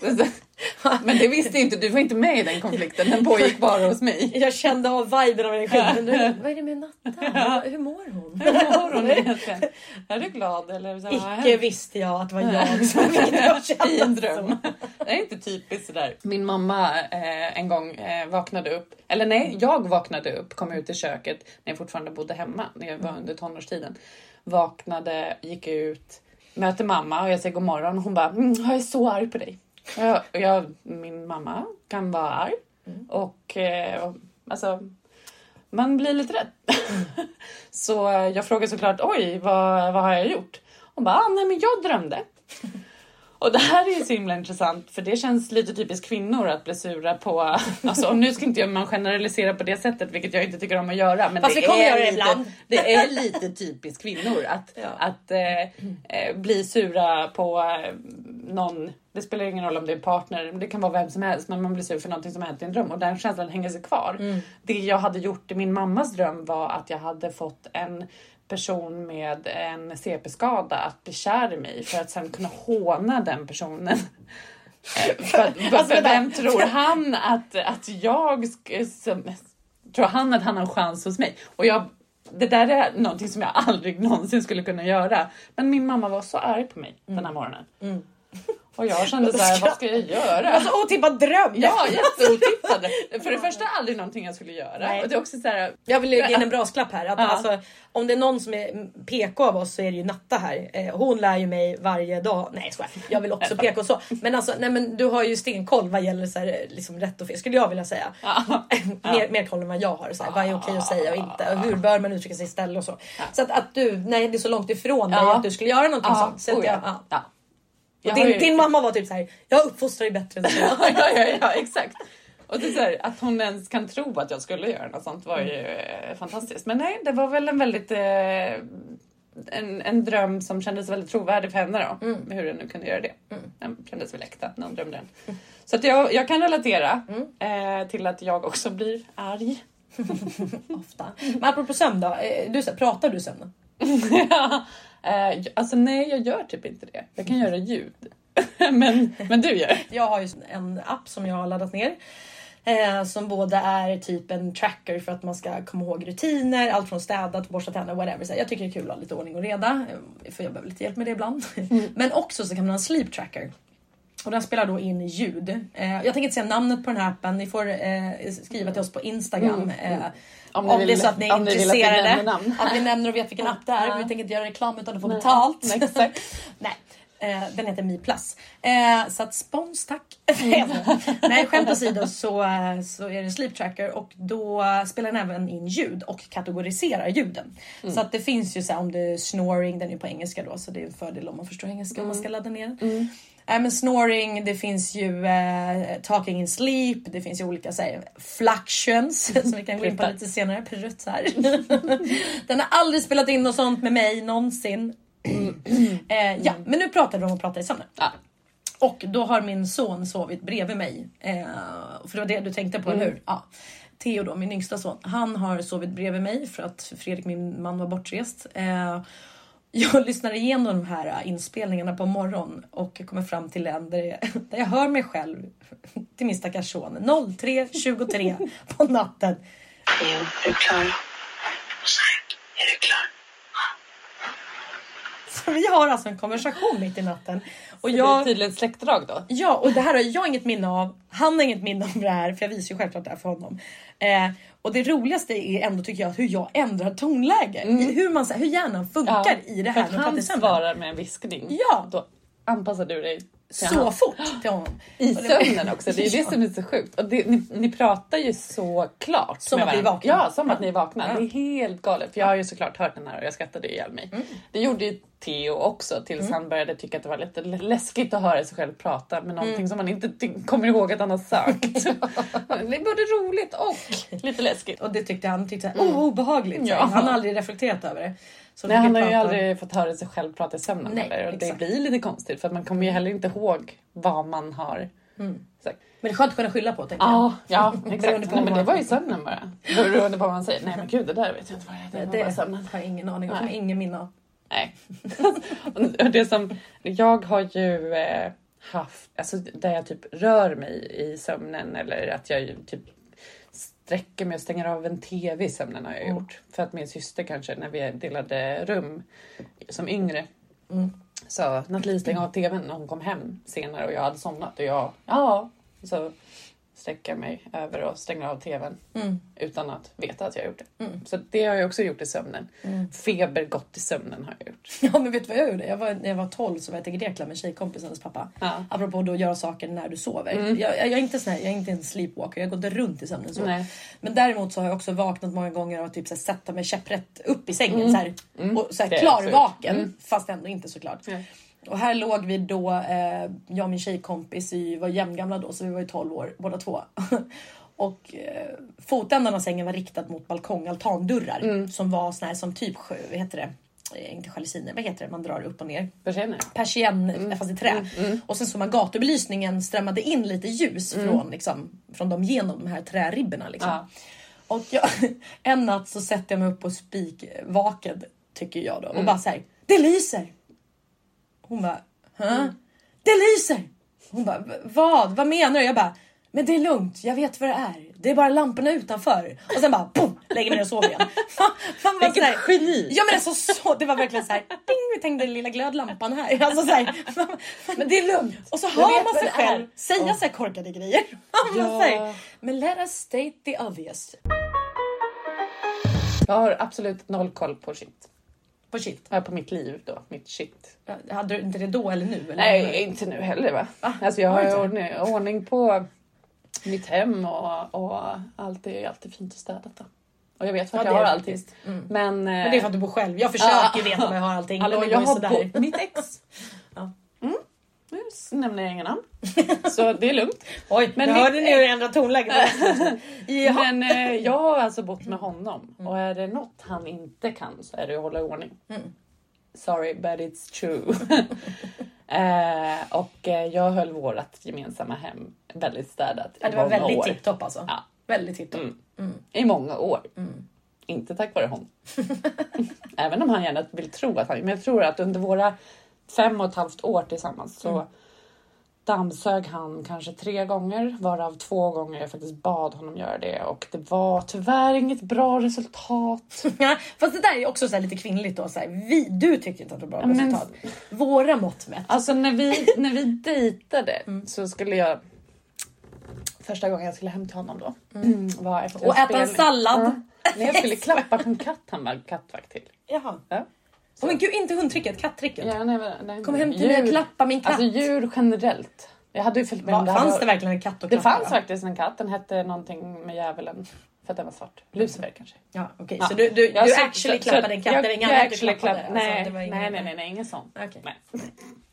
Speaker 2: Men det visste inte du, var inte med i den konflikten. Den pågick bara hos mig.
Speaker 1: Jag kände av viben av energin. Men nu, vad är det med Natta? Hur mår hon?
Speaker 2: Hur mår hon egentligen? Är du glad eller? Så, här, vad har
Speaker 1: Icke
Speaker 2: hänt?
Speaker 1: visste jag att det var jag som vilket jag
Speaker 2: i en
Speaker 1: kände.
Speaker 2: dröm. Det är inte typiskt sådär. Min mamma eh, en gång eh, vaknade upp, eller nej, jag vaknade upp, kom ut i köket när jag fortfarande bodde hemma, när jag var under tonårstiden. Vaknade, gick ut, möter mamma och jag säger god morgon och hon bara mm, jag är så arg på dig. Och Jag, och jag, min mamma kan vara arg
Speaker 1: Mm.
Speaker 2: och eh, alltså man blir lite rädd. så eh, jag frågar såklart oj, vad, vad har jag gjort? Hon bara ah, nej men jag drömde. Och det här är ju så himla intressant för det känns lite typiskt kvinnor att bli sura på, alltså och nu ska inte jag, man generalisera på det sättet vilket jag inte tycker om att göra. Men
Speaker 1: Fast
Speaker 2: det
Speaker 1: vi kommer
Speaker 2: är
Speaker 1: göra det
Speaker 2: lite,
Speaker 1: ibland.
Speaker 2: Det är lite typiskt kvinnor att,
Speaker 1: Ja.
Speaker 2: att eh, eh, bli sura på eh, någon, det spelar ingen roll om det är en partner, det kan vara vem som helst men man blir sur för någonting som hänt i en dröm och den känslan hänger sig kvar.
Speaker 1: Mm.
Speaker 2: Det jag hade gjort i min mammas dröm var att jag hade fått en person med en CP-skada att bli kär i mig för att sen kunna håna den personen. Eh, för, att- för,
Speaker 1: Alltså, vänta.
Speaker 2: för vem tror han att, att jag... sk- Som, tror han att han har en chans hos mig? Och jag, det där är någonting som jag aldrig någonsin skulle kunna göra. Men min mamma var så arg på mig den här morgonen. Och jag kände så här, vad ska jag göra?
Speaker 1: Alltså otippad dröm!
Speaker 2: Ja, jätteotippade. För det första aldrig någonting jag skulle göra.
Speaker 1: Nej.
Speaker 2: Och det är också så här,
Speaker 1: Jag vill lägga in en brasklapp här. Att
Speaker 2: Ja.
Speaker 1: alltså, om det är någon som är PK av oss så är det ju Natta här. Eh, Hon lär ju mig varje dag. Nej jag skojar. Jag vill också PK så. Men alltså nej, men du har ju stenkoll vad gäller så här, eh, liksom rätt och fel skulle jag vilja säga. mer, mer koll än vad jag har. Så här, vad är okej att säga
Speaker 2: Ah.
Speaker 1: och inte. Och hur bör man uttrycka sig istället och så. Så att, att du, nej det är så långt ifrån dig
Speaker 2: Ja.
Speaker 1: att du skulle göra någonting sånt. Så att
Speaker 2: oh
Speaker 1: jag,
Speaker 2: ja.
Speaker 1: ja.
Speaker 2: Ja. Jag
Speaker 1: Och
Speaker 2: har
Speaker 1: din,
Speaker 2: ju-
Speaker 1: din mamma var typ så här. jag uppfostrar dig bättre än så.
Speaker 2: ja, ja, ja, ja, exakt. Och det är så här, att hon ens kan tro att jag skulle göra något sånt var ju
Speaker 1: Mm.
Speaker 2: eh, fantastiskt. Men nej, det var väl en väldigt... Eh, en, en dröm som kändes väldigt trovärdig för henne då.
Speaker 1: Mm.
Speaker 2: Hur den nu kunde göra det. Den kändes väl äkta när hon drömde
Speaker 1: Mm.
Speaker 2: den. Så att jag, jag kan relatera eh, till att jag också blir arg.
Speaker 1: Ofta. Men apropå sömn då. eh, Du, så här, pratar du sömnen?
Speaker 2: eh, alltså nej, jag gör typ inte det. Jag kan göra ljud. men, men du gör.
Speaker 1: Jag har ju en app som jag har laddat ner. Eh, som både är typ en tracker för att man ska komma ihåg rutiner, allt från städat, borsta tänderna, whatever. Så jag tycker det är kul att ha lite ordning och reda, eh, för jag behöver lite hjälp med det ibland. Men också så kan man ha en sleep tracker. Och den spelar då in ljud. Eh, jag tänker inte säga namnet på den här appen, ni får eh, skriva till oss på Instagram. Eh,
Speaker 2: Om
Speaker 1: om
Speaker 2: ni
Speaker 1: det är
Speaker 2: vill-
Speaker 1: så att ni är
Speaker 2: om ni vill att vi
Speaker 1: intresserade.
Speaker 2: nämner namn.
Speaker 1: Att vi nämner och vet vilken app det är. Vi tänker inte göra reklam utan att få betalt.
Speaker 2: Exakt.
Speaker 1: Nej. Eh, Eh, den heter Mi Plus. Eh, så att spons tack. Nej skämt åsido så, eh, så är det Sleep Tracker och då spelar den även in ljud och kategoriserar ljuden. Så att det finns ju så här, om du snoring, den är ju på engelska då så det är en fördel om man förstår engelska om man ska ladda ner den. Nej men snoring, det finns ju eh, talking in sleep, det finns ju olika så här, fluctions som vi kan gå in på
Speaker 2: Pruttar.
Speaker 1: lite senare. Pruttar. den har aldrig spelat in något sånt med mig någonsin. eh, ja, men nu pratar vi om att prata i sömnen.
Speaker 2: Ja.
Speaker 1: Och då har min son sovit bredvid mig. Eh, för det var det du tänkte på, eller hur? Ja. Theo då, min yngsta son, han har sovit bredvid mig för att Fredrik, min man, var bortrest. Eh, jag lyssnar igenom de här eh, inspelningarna på morgonen och kommer fram till en där jag, där jag hör mig själv till min stackars son 03.23 på natten.
Speaker 3: Theo, är du klar? Sank, är du klar?
Speaker 1: Så vi har alltså en konversation mitt i natten. Och
Speaker 2: Det är
Speaker 1: jag,
Speaker 2: tydligen ett släktdrag då.
Speaker 1: Ja, och det här har jag inget minne av. Han har inget minne om det här, för jag visar ju självklart det här för honom. Eh, och det roligaste är ändå tycker jag hur jag ändrar tonläge. I Hur, man, så här, hur hjärnan funkar i det
Speaker 2: Mm. för
Speaker 1: här
Speaker 2: att
Speaker 1: med
Speaker 2: han
Speaker 1: patissömnen.
Speaker 2: svarar med en viskning.
Speaker 1: Ja.
Speaker 2: Då anpassar du dig till
Speaker 1: Så
Speaker 2: han.
Speaker 1: fort till honom.
Speaker 2: I
Speaker 1: Och det var-
Speaker 2: sömnen också. Det är ju det som är så sjukt. Och det, ni, ni pratar ju så klart.
Speaker 1: Som
Speaker 2: med
Speaker 1: att vi är
Speaker 2: varandra.
Speaker 1: vakna.
Speaker 2: Ja, som att ni är vakna. Det är helt galet. För jag har ju såklart hört den här och jag skrattade ihjäl mig.
Speaker 1: Mm.
Speaker 2: Det gjorde ju Theo också tills han började tycka att det var lite lä- läskigt att höra sig själv prata med någonting
Speaker 1: Mm.
Speaker 2: som man inte ty- kommer ihåg att han har sagt. det är både roligt och lite läskigt.
Speaker 1: Och det tyckte han tyckte såhär, oh, obehagligt.
Speaker 2: Ja.
Speaker 1: såhär. Han har aldrig reflekterat över det. Så
Speaker 2: Nej,
Speaker 1: vi
Speaker 2: han har ju
Speaker 1: pratar-
Speaker 2: aldrig fått höra sig själv prata i sömnen
Speaker 1: Nej,
Speaker 2: heller. Och det
Speaker 1: exakt. Mm.
Speaker 2: blir lite konstigt för att man kommer ju heller inte ihåg vad man har sagt.
Speaker 1: Men det är skönt att kunna skylla på tänker jag.
Speaker 2: Ja, ja
Speaker 1: Beroende
Speaker 2: exakt.
Speaker 1: på
Speaker 2: Nej, men
Speaker 1: vad
Speaker 2: det
Speaker 1: man-
Speaker 2: var ju sömnen bara. Beroende på vad man säger. Nej men gud, det där vet jag inte vad det är. Det var bara
Speaker 1: Det
Speaker 2: sömnen.
Speaker 1: har jag ingen aning om.
Speaker 2: Nej.
Speaker 1: Ingen minne av.
Speaker 2: Nej. Och det som, jag har ju eh, haft, alltså där jag typ rör mig i sömnen eller att jag ju typ sträcker mig och stänger av en TV i sömnen har jag
Speaker 1: Mm.
Speaker 2: gjort. För att min syster kanske, när vi delade rum som yngre,
Speaker 1: Mm.
Speaker 2: sa Nathalie stäng av TVn när hon kom hem senare och jag hade somnat och jag, ja, så sträcker jag mig över och stänger av TVn
Speaker 1: Mm.
Speaker 2: utan att veta att jag gjort det. Så det har jag också gjort i sömnen.
Speaker 1: Mm.
Speaker 2: Febergott i sömnen har jag gjort.
Speaker 1: Ja men vet du vad jag gjorde? Jag var, när jag var 12 så var jag till Grekland med tjejkompisens pappa.
Speaker 2: Ja.
Speaker 1: Apropå då att göra saker när du sover. Jag, jag, jag, är inte sån här, jag är inte en sleepwalker, jag går inte runt i sömnen så.
Speaker 2: Nej.
Speaker 1: Men däremot så har jag också vaknat många gånger av att typ så här, sätta mig käpprätt upp i sängen så här, och så
Speaker 2: Mm. Det
Speaker 1: här,
Speaker 2: är Mm.
Speaker 1: klarvaken. Fast ändå inte såklart.
Speaker 2: Nej.
Speaker 1: Och här låg vi då, eh, jag och min tjejkompis, vi var jämngamla då så vi var ju 12 år båda två. Och eh, fotändan av sängen var riktad mot balkong altandörrar
Speaker 2: Mm.
Speaker 1: som var såna här som typ sjö, vad heter det? Eh, Inte jalusiner, vad heter det? Man drar upp och ner
Speaker 2: Persienner?
Speaker 1: persienn
Speaker 2: Mm.
Speaker 1: eh, fast i trä. Och sen så man gatubelysningen strömmade in lite ljus från, liksom, från dem genom de här träribborna. Liksom.
Speaker 2: Mm. Ja.
Speaker 1: Och jag, en natt så sätter jag mig upp på spikvaken tycker jag då
Speaker 2: Mm.
Speaker 1: och bara så här, det lyser! Hon bara, Hä?
Speaker 2: Mm.
Speaker 1: det lyser! Hon bara, "V- vad? Vad menar du? Jag bara, men det är lugnt, jag vet vad det är. Det är bara lamporna utanför. Och sen bara, boom, lägger mig ner och sover igen. Man, man bara
Speaker 2: Vilket
Speaker 1: så här-
Speaker 2: geni!
Speaker 1: Ja men alltså så, det var verkligen så här. Ding, vi tängde den lilla glödlampan här. Alltså så här men det är lugnt. Och så hör man
Speaker 2: vet vad
Speaker 1: sig
Speaker 2: det är.
Speaker 1: själv säga så här korkade grejer. Man
Speaker 2: Ja.
Speaker 1: ja. säger, men let us state the obvious.
Speaker 2: Jag har absolut noll koll på shit.
Speaker 1: På shit.
Speaker 2: Ja, På mitt liv då, mitt shit.
Speaker 1: Hade du inte det då eller nu? Eller?
Speaker 2: Nej, inte nu heller va? Alltså jag
Speaker 1: Har
Speaker 2: har
Speaker 1: du
Speaker 2: ju
Speaker 1: inte?
Speaker 2: ordning, ordning på mitt hem och, och allt är alltid fint och städat. Då. Och jag vet
Speaker 1: Ja,
Speaker 2: vart
Speaker 1: det
Speaker 2: jag
Speaker 1: är
Speaker 2: har
Speaker 1: det
Speaker 2: allting.
Speaker 1: faktiskt.
Speaker 2: Men, men
Speaker 1: Mm.
Speaker 2: eh,
Speaker 1: Men det är för att du bor själv. Jag försöker
Speaker 2: Ja.
Speaker 1: veta vad jag har allting.
Speaker 2: Hallå,
Speaker 1: men det
Speaker 2: jag
Speaker 1: går ju
Speaker 2: har
Speaker 1: sådär.
Speaker 2: bo- mitt ex.
Speaker 1: Ja.
Speaker 2: Mm. Nu s- nämner jag inga namn. Så det är lugnt.
Speaker 1: Oj, men
Speaker 2: Men
Speaker 1: jag
Speaker 2: mitt
Speaker 1: hörde ni hur jag ändrade tonläge? Jaha.
Speaker 2: Men eh, jag har alltså bott med honom
Speaker 1: Mm.
Speaker 2: och är det något han inte kan så är det att hålla ordning.
Speaker 1: Mm.
Speaker 2: Sorry but it's true. eh, och eh, jag höll vårt gemensamma hem väldigt städat
Speaker 1: Ja,
Speaker 2: i
Speaker 1: det var
Speaker 2: många
Speaker 1: väldigt
Speaker 2: år.
Speaker 1: tipptopp alltså.
Speaker 2: Ja.
Speaker 1: Väldigt tipptopp.
Speaker 2: Mm. I många år. Inte tack vare honom. Även om han gärna vill tro att han... Men jag tror att under våra fem och ett halvt år tillsammans så dammsög han kanske tre gånger varav två gånger jag faktiskt bad honom göra det och det var tyvärr inget bra resultat.
Speaker 1: Ja, Mm. fast det där är ju också så här lite kvinnligt då. Så här, vi, du tycker inte att det var bra
Speaker 2: Ja, men-
Speaker 1: resultat. Våra mått mätt.
Speaker 2: Alltså när vi, när vi dejtade så skulle jag... Första gången jag skulle hem till honom då var efter
Speaker 1: Och äta en
Speaker 2: spelning.
Speaker 1: sallad.
Speaker 2: Ja. När jag skulle klappa på en katt han var kattvakt till.
Speaker 1: Jaha.
Speaker 2: Ja.
Speaker 1: Åh men gud, inte hundtricket, kattricket.
Speaker 2: Ja, nej, men- nej.
Speaker 1: Kom hem till mig och
Speaker 2: Djur-
Speaker 1: klappa min katt.
Speaker 2: Alltså djur generellt. Jag hade ju följt med
Speaker 1: Va,
Speaker 2: om här
Speaker 1: fanns
Speaker 2: var-
Speaker 1: det verkligen en katt och
Speaker 2: Det
Speaker 1: klappa?
Speaker 2: fanns faktiskt en katt. Den hette någonting med djävulen. För att den var svart. Lucifer kanske.
Speaker 1: Ja, okej.
Speaker 2: Ja.
Speaker 1: Så du, du,
Speaker 2: Ja,
Speaker 1: du
Speaker 2: så-
Speaker 1: actually
Speaker 2: så-
Speaker 1: klappade
Speaker 2: så-
Speaker 1: en katt? det var
Speaker 2: jag-
Speaker 1: inga
Speaker 2: jag
Speaker 1: andra du
Speaker 2: actually
Speaker 1: klappade?
Speaker 2: klapp-
Speaker 1: Alltså,
Speaker 2: Nej,
Speaker 1: det var ingen-
Speaker 2: nej, nej, nej, nej, ingen sån.
Speaker 1: Okej.
Speaker 2: Nej.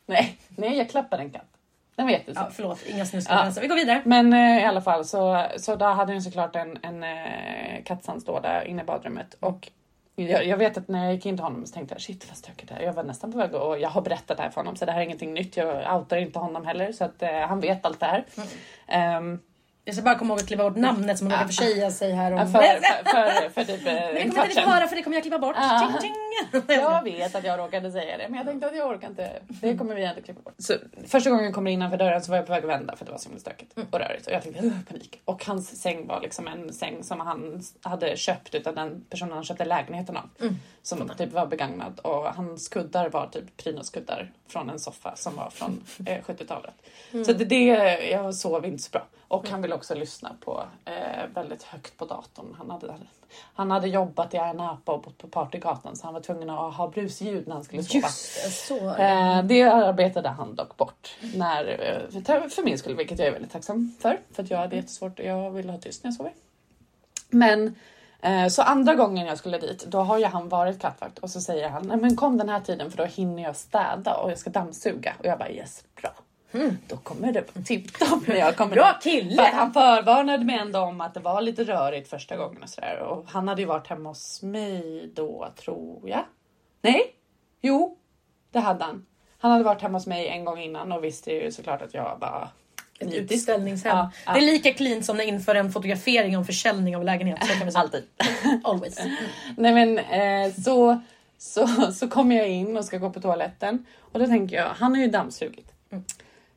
Speaker 2: nej, nej, jag klappade en katt. Den var jättesöt.
Speaker 1: Ja, förlåt, inga snuskreferenser. Vi går vidare.
Speaker 2: Men eh, i alla fall så, så där hade jag såklart en, en eh, kattsandslåda inne i badrummet. Och jag, jag vet att när jag gick in till honom så tänkte jag shit vad stökigt det här Jag var nästan på väg och jag har berättat det här för honom så det här är ingenting nytt. Jag outar inte honom heller så att eh, han vet allt det här.
Speaker 1: Mm.
Speaker 2: Ehm,
Speaker 1: Jag ska bara komma ihåg att kliva bort namnet som hon råkade försäga sig här om...
Speaker 2: Mm. för, för, för, för typ eh,
Speaker 1: Mm. Men det
Speaker 2: en
Speaker 1: kommer inte
Speaker 2: kvart
Speaker 1: ni få
Speaker 2: sedan.
Speaker 1: höra för det kommer jag klippa bort.
Speaker 2: Ah.
Speaker 1: Ting, ting.
Speaker 2: Jag vet att jag råkade säga det men jag tänkte att jag orkar inte. Det kommer vi ändå klippa bort. Så, första gången jag kom innanför dörren så var jag på väg att vända för det var så himla stökigt och rörigt och jag tänkte "Ugh, panik. Och hans säng var liksom en säng som han s- hade köpt utav den personen han köpte lägenheten av.
Speaker 1: Mm.
Speaker 2: Som typ var begagnad och hans kuddar var typ prydnadskuddar från en soffa som var från eh, 70-talet.
Speaker 1: Mm.
Speaker 2: Så det, det, jag sov inte så bra. Och han ville också lyssna på eh, väldigt högt på datorn. Han hade, han hade jobbat i Napa och bott på Partygatan så han var tvungen att ha brusljud när han skulle sova.
Speaker 1: Just det, så.
Speaker 2: Eh, det arbetade han dock bort när, eh, för- för min skull, vilket jag är väldigt tacksam för. För att jag hade jättesvårt, jag ville ha tyst när jag sover. Men eh, så andra gången jag skulle dit, då har ju han varit kattvakt och så säger han Nej, men kom den här tiden för då hinner jag städa och jag ska dammsuga. Och jag bara yes, bra. Då kommer det vara tipptopp när jag kommer
Speaker 1: Bra
Speaker 2: dit." För att
Speaker 1: kille!
Speaker 2: han förvarnade mig ändå om att det var lite rörigt första gången och sådär. Och han hade ju varit hemma hos mig då, tror jag. Nej, jo, det hade han. Han hade varit hemma hos mig en gång innan och visste ju såklart att jag var
Speaker 1: Ett
Speaker 2: nitisk.
Speaker 1: utställningshem.
Speaker 2: Ja, ja.
Speaker 1: Det är lika clean som när inför en fotografering om försäljning av lägenhet. Så kan vi säga.
Speaker 2: Alltid.
Speaker 1: Always.
Speaker 2: Nej men eh, så, så, så kommer jag in och ska gå på toaletten och då tänker jag, han har ju dammsugit.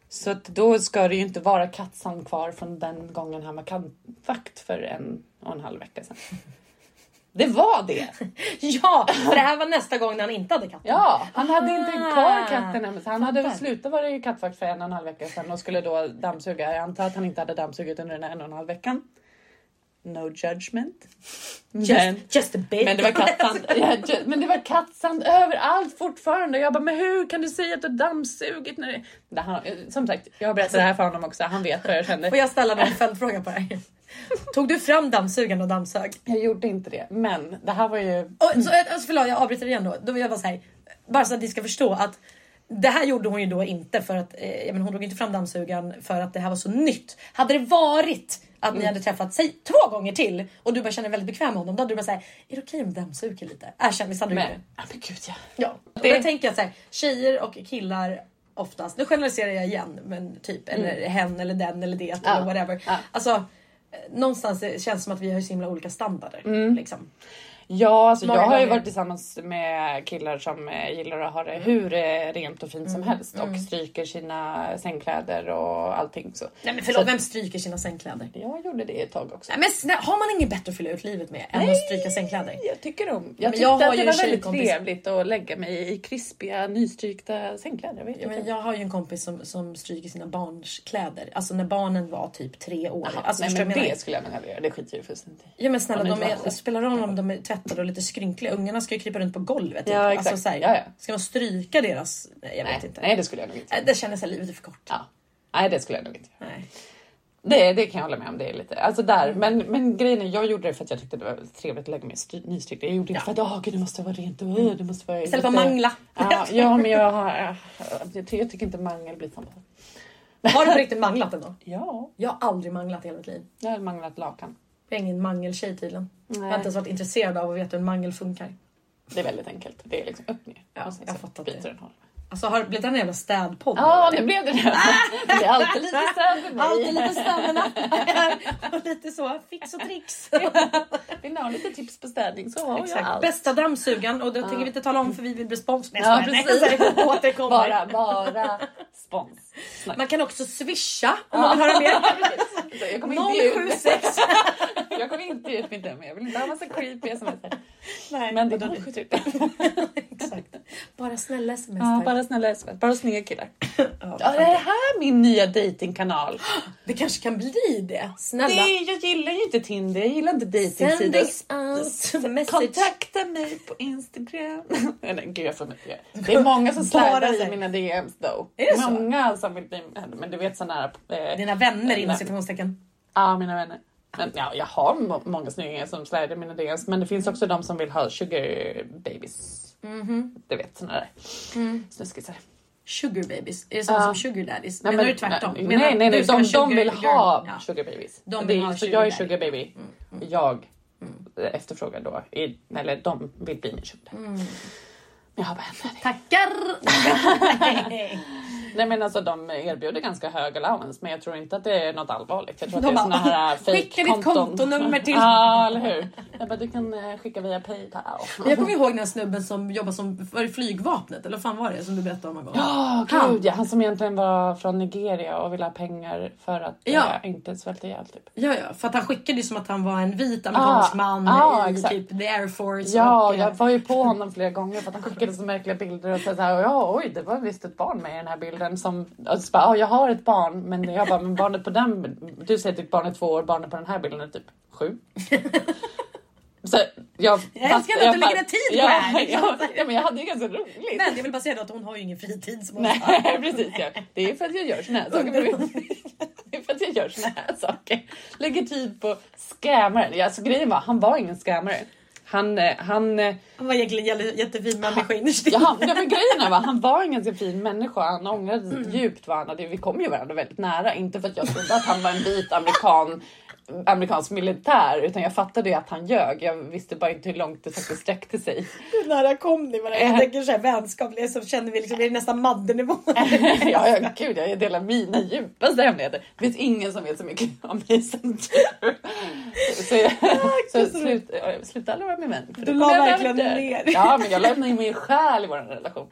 Speaker 2: Så att då ska det ju inte vara kattsand kvar från den gången han var kattvakt för en och en halv vecka sedan. Det var det!
Speaker 1: Ja, för det här var nästa gång när han inte hade katt.
Speaker 2: Ja, han hade inte
Speaker 1: Ah,
Speaker 2: kvar katten än. så Han hade
Speaker 1: fattar.
Speaker 2: slutat vara ju kattvakt för en och en halv vecka sedan och skulle då dammsuga. Jag antar att han inte hade dammsugit under den här en och en halv veckan. No judgment. Men-
Speaker 1: Just, just a bit.
Speaker 2: Men det var kattsand, ja, ju- men det var kattsand överallt fortfarande. Jag bara, men hur kan du säga att du har dammsugit? När det... Det han, som sagt, jag har berättat det här för honom också. Han vet vad jag
Speaker 1: Får
Speaker 2: kände.
Speaker 1: jag ställa någon följdfråga på dig? Tog du fram dammsugaren och dammsög?
Speaker 2: Jag gjorde inte det, men det här var ju...
Speaker 1: Och, så, alltså, förlåt, jag avbryter igen då. då vill jag bara, så här, bara så att ni ska förstå att det här gjorde hon ju då inte för att eh, jag menar, hon drog inte fram dammsugaren för att det här var så nytt. Hade det varit att ni hade träffat sig två gånger till och du bara känner dig väldigt bekväm med honom, då hade du bara såhär, är det okej om vi dammsuger lite? Erkänn, visst hade du gjort det?
Speaker 2: Men, ja, men gud ja.
Speaker 1: Ja. Och
Speaker 2: Det-
Speaker 1: Då tänker jag såhär, tjejer och killar oftast, nu generaliserar jag igen, men typ eller hen eller den eller det
Speaker 2: Mm. Ja.
Speaker 1: eller whatever.
Speaker 2: Ja.
Speaker 1: Alltså, eh, någonstans eh, känns det som att vi har så himla olika standarder.
Speaker 2: Mm.
Speaker 1: Liksom.
Speaker 2: Ja, alltså
Speaker 1: Många
Speaker 2: jag har ju
Speaker 1: gånger.
Speaker 2: varit tillsammans med killar som eh, gillar att ha det hur eh, rent och fint som
Speaker 1: Mm,
Speaker 2: helst och stryker sina sängkläder och allting. Så.
Speaker 1: Nej men förlåt, vem stryker sina sängkläder?
Speaker 2: Jag gjorde det ett tag också.
Speaker 1: Nej, men snälla, har man inget bättre att fylla ut livet med än att stryka sängkläder?
Speaker 2: Jag tycker om. Jag
Speaker 1: men
Speaker 2: tyckte
Speaker 1: jag har
Speaker 2: att det
Speaker 1: ju
Speaker 2: var
Speaker 1: en
Speaker 2: väldigt
Speaker 1: tjejkompis-
Speaker 2: trevligt att lägga mig i krispiga nystrykta sängkläder. Jag vet
Speaker 1: Ja,
Speaker 2: inte.
Speaker 1: men jag har ju en kompis som, som stryker sina barns kläder. Alltså när barnen var typ tre år.
Speaker 2: Jaha,
Speaker 1: alltså,
Speaker 2: nej,
Speaker 1: förstår du vad
Speaker 2: men
Speaker 1: jag
Speaker 2: det
Speaker 1: menar?
Speaker 2: skulle jag nog aldrig göra. Det skiter jag fullständigt i.
Speaker 1: Ja men snälla,
Speaker 2: Ja, men
Speaker 1: de är,
Speaker 2: varför?
Speaker 1: spelar roll om de är tvättade och lite skrynkliga. Ungarna ska ju krypa runt på golvet.
Speaker 2: Ja,
Speaker 1: typ.
Speaker 2: exakt.
Speaker 1: Alltså, så här,
Speaker 2: Ja, ja.
Speaker 1: Ska man stryka deras... Nej, jag vet
Speaker 2: Nej,
Speaker 1: inte.
Speaker 2: nej, det skulle jag nog inte.
Speaker 1: Äh, Det känner sig livet är för kort.
Speaker 2: Ja. Nej, det skulle jag nog inte. göra.
Speaker 1: Nej.
Speaker 2: Det, det kan jag hålla med om. Det är lite, alltså där. Men, men grejen är, jag gjorde det för att jag tyckte det var trevligt att lägga mig i stry- nystrykta. Jag gjorde inte för att åh gud, det måste vara rent och "Åh, det måste vara...
Speaker 1: Mm. Istället för att mangla.
Speaker 2: Ja, ja, men jag, har, jag, jag tycker inte mangel blir samma.
Speaker 1: Har du på riktigt manglat en dag?
Speaker 2: Ja,
Speaker 1: Jag har aldrig manglat i hela mitt liv.
Speaker 2: jag har manglat lakan.
Speaker 1: Jag är ingen mangeltjej tydligen. Jag har
Speaker 2: Nej.
Speaker 1: inte ens varit intresserad av att veta hur en mangel funkar.
Speaker 2: Det är väldigt enkelt. Det är liksom upp ner.
Speaker 1: Ja,
Speaker 2: och sen
Speaker 1: jag
Speaker 2: så
Speaker 1: fattar
Speaker 2: byter
Speaker 1: det.
Speaker 2: den håll.
Speaker 1: Alltså har det blivit en jävla städpodd?
Speaker 2: Ja, nu blev det det. Det är alltid lite städ för
Speaker 1: Alltid
Speaker 2: mig.
Speaker 1: lite stämmorna och lite så fix och tricks.
Speaker 2: Vill ni ha lite tips på städning så har jag
Speaker 1: Exakt.
Speaker 2: allt.
Speaker 1: Bästa dammsugaren och det tänker vi inte tala om för vi vill bli spons nästa
Speaker 2: Ja,
Speaker 1: gång. Nej,
Speaker 2: precis.
Speaker 1: så här, återkommer.
Speaker 2: Bara, bara spons. Snack.
Speaker 1: Man kan också swisha om man vill höra mer.
Speaker 2: Jag kommer inte ge ut,
Speaker 1: 076.
Speaker 2: jag kommer inte ge ut mitt nummer. Jag vill inte ha massa creepy sms.
Speaker 1: Nej,
Speaker 2: Men
Speaker 1: det
Speaker 2: det
Speaker 1: är
Speaker 2: går typ.
Speaker 1: dåligt.
Speaker 2: skjut ut.
Speaker 1: Exakt. Bara snälla sms
Speaker 2: Ja,
Speaker 1: tack.
Speaker 2: bara snälla sms. Bara snygga killar.
Speaker 1: Ja,
Speaker 2: Ja, det är här min nya datingkanal.
Speaker 1: Det kanske kan bli det. Snälla.
Speaker 2: Nej, jag gillar ju inte Tinder. Jag gillar inte
Speaker 1: Send
Speaker 2: dejtingsidor.
Speaker 1: us out message.
Speaker 2: Kontakta mig på Instagram. Nej, gud jag får mycket. Det är många som
Speaker 1: Bara
Speaker 2: sladdar
Speaker 1: det.
Speaker 2: i mina DMs då.
Speaker 1: Är det så?
Speaker 2: många som vill bli Men du vet sådana här... eh,
Speaker 1: Dina vänner inom
Speaker 2: Nej.
Speaker 1: citationstecken.
Speaker 2: Ja, mina vänner. Men, ja, jag har må- många snyggingar som sladdar i mina DMs. Men det finns också de som vill ha sugar babies.
Speaker 1: Mhm.
Speaker 2: Du vet sådana där snuskisar.
Speaker 1: Sugar babies. Är det samma
Speaker 2: Ja.
Speaker 1: som sugar daddies? Menar du tvärtom?
Speaker 2: Nej,
Speaker 1: Menar
Speaker 2: nej, nej,
Speaker 1: du
Speaker 2: nej.
Speaker 1: ska
Speaker 2: De,
Speaker 1: vara sugar
Speaker 2: de vill
Speaker 1: girl?
Speaker 2: ha
Speaker 1: Ja.
Speaker 2: sugar babies.
Speaker 1: De
Speaker 2: det,
Speaker 1: vill
Speaker 2: är-
Speaker 1: ha
Speaker 2: så
Speaker 1: sugar Mm,
Speaker 2: jag är
Speaker 1: daddy.
Speaker 2: sugar baby. Jag
Speaker 1: Mm.
Speaker 2: efterfrågar då, i- eller de vill bli min sugar daddy. Men jag har bara henne.
Speaker 1: Tackar! Nej.
Speaker 2: Nej men alltså de erbjuder ganska hög allowance men jag tror inte att det är något allvarligt. Jag tror
Speaker 1: De
Speaker 2: att det är
Speaker 1: bara, "Ah,
Speaker 2: såna här
Speaker 1: "Skicka ditt
Speaker 2: fejkkonton.
Speaker 1: kontonummer till-"
Speaker 2: Ja eller hur. Jag bara du kan eh, skicka via Paypal.
Speaker 1: Men Jag kommer ihåg den här snubben som jobbar som var det flygvapnet eller vad fan var det som du berättade om någon gång?
Speaker 2: Oh,
Speaker 1: Han.
Speaker 2: gud, ja, han som egentligen var från Nigeria och ville ha pengar för att
Speaker 1: Ja.
Speaker 2: eh, inte svälta ihjäl typ.
Speaker 1: Ja, ja, för att han skickade ju som att han var en vit amerikansk
Speaker 2: Ah,
Speaker 1: man
Speaker 2: ah,
Speaker 1: i
Speaker 2: exakt.
Speaker 1: typ the air force.
Speaker 2: Ja,
Speaker 1: och, eh,
Speaker 2: jag var ju på honom flera gånger för att han skickade så märkliga bilder och så här, ja, oj, det var visst ett barn med i den här bilden som, och så bara, ja, jag har ett barn, men jag bara, men barnet på den, du säger typ barnet två år, barnet på den här bilden är typ sju. Så jag,
Speaker 1: Jag älskar att du
Speaker 2: bara-
Speaker 1: lägger ner tid på
Speaker 2: ja,
Speaker 1: det här, liksom.
Speaker 2: Ja, ja, men jag hade ju ganska roligt.
Speaker 1: Men jag vill bara säga då att hon har ju ingen fritid som hon har.
Speaker 2: Nej, precis. Ja. Det är för att jag gör såna här saker. Det är för att jag gör såna här saker. Lägger tid på scammare. Alltså, grejen var, han var ingen scammare. Han, eh, han, eh,
Speaker 1: Han var egentligen jätte- jättefin människa innerst inne.
Speaker 2: ja, ja, men grejen var, han var en ganska fin människa. Han ångrade
Speaker 1: Mm.
Speaker 2: djupt vad han hade. Vi kom ju varandra väldigt nära. Inte för att jag trodde att han var en vit amerikan, amerikansk militär, utan jag fattade ju att han ljög. Jag visste bara inte hur långt det faktiskt sträckte sig.
Speaker 1: Hur nära kom ni varandra? Jag
Speaker 2: Eh.
Speaker 1: tänker såhär vänskapligt så känner vi liksom, det är nästan maddernivå.
Speaker 2: ja, ja, gud, jag delar mina djupaste hemligheter. Det finns ingen som vet så mycket om mig som du. Så, jag, så slut, ja, sluta aldrig vara min vän. för
Speaker 1: Du
Speaker 2: då
Speaker 1: la
Speaker 2: kommer jag
Speaker 1: verkligen
Speaker 2: dö.
Speaker 1: ner.
Speaker 2: Ja, men jag lämnade ju min själ i vår relation.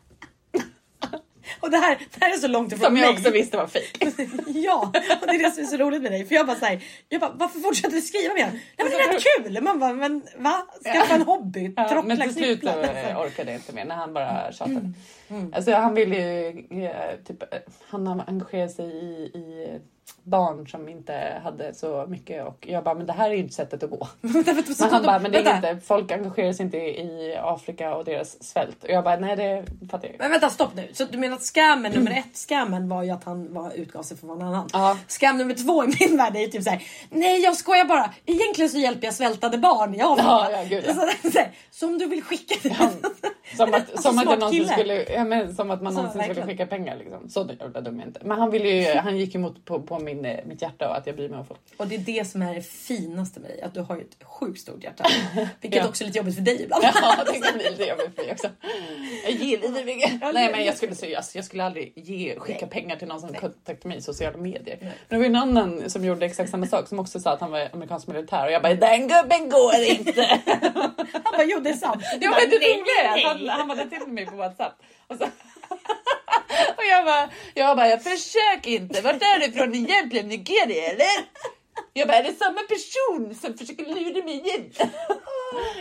Speaker 1: Och det här, det här är så långt ifrån
Speaker 2: Som
Speaker 1: mig.
Speaker 2: jag också visste var fejk.
Speaker 1: Ja, och det är det som är så roligt med dig. För jag bara såhär, jag bara, varför fortsätter du skriva med honom? Nej men det är rätt kul! Man bara, men va? Skaffa en hobby?
Speaker 2: Ja,
Speaker 1: Trockla,
Speaker 2: men till slut så
Speaker 1: knyppla.
Speaker 2: eh, orkade jag inte mer när han bara
Speaker 1: Mm.
Speaker 2: tjatade. Alltså, han ville ju eh, typ, eh, han engagerade sig i, i barn som inte hade så mycket och jag bara, men det här är ju inte sättet att gå.
Speaker 1: Vänta, vänta,
Speaker 2: Men
Speaker 1: så-
Speaker 2: han bara, men det är
Speaker 1: vänta.
Speaker 2: inte, folk engagerar sig inte i Afrika och deras svält. Och jag bara, nej det fattar jag ju.
Speaker 1: Men vänta stopp nu. Så du menar att scammen nummer ett, scammen var ju att han var utgav sig för någon annan.
Speaker 2: Ja.
Speaker 1: Scam nummer två i min värld är ju typ såhär, nej jag skojar bara. Egentligen så hjälper jag svältande barn i Afrika.
Speaker 2: Ja, ja, gud, ja.
Speaker 1: Så, så, här, så om du vill skicka det.
Speaker 2: Som
Speaker 1: Alltså,
Speaker 2: att, som att,
Speaker 1: smart
Speaker 2: jag någonsin
Speaker 1: kille.
Speaker 2: skulle, ja, men, som att man
Speaker 1: Så,
Speaker 2: någonsin skulle
Speaker 1: verkligen.
Speaker 2: skicka pengar. Liksom. Så jävla dum är jag inte. Men han, ville ju, han gick emot på, på min, eh, mitt hjärta och att jag bryr mig om folk.
Speaker 1: Och det är det som är det finaste med dig, att du har ju ett sjukt stort hjärta. Vilket
Speaker 2: Ja.
Speaker 1: också är lite jobbigt för dig ibland.
Speaker 2: Ja, det kan bli lite jobbigt för mig också. Jag gillar det mycket. Nej, men jag skulle, säga, alltså, jag skulle aldrig ge, skicka
Speaker 1: Nej.
Speaker 2: pengar till någon som kontaktade mig i sociala medier.
Speaker 1: Nej.
Speaker 2: Men det var ju en annan som gjorde exakt samma sak som också sa att han var amerikansk militär och jag bara, den gubben går inte.
Speaker 1: Han bara, jo det är sant.
Speaker 2: Det var inte roligt. Han, han hade till mig på Whatsapp. Och, så, och jag bara, jag bara, jag försök inte. Vart är du ifrån egentligen? Nigeria eller? Jag bara, är det samma person som försöker lura mig igen?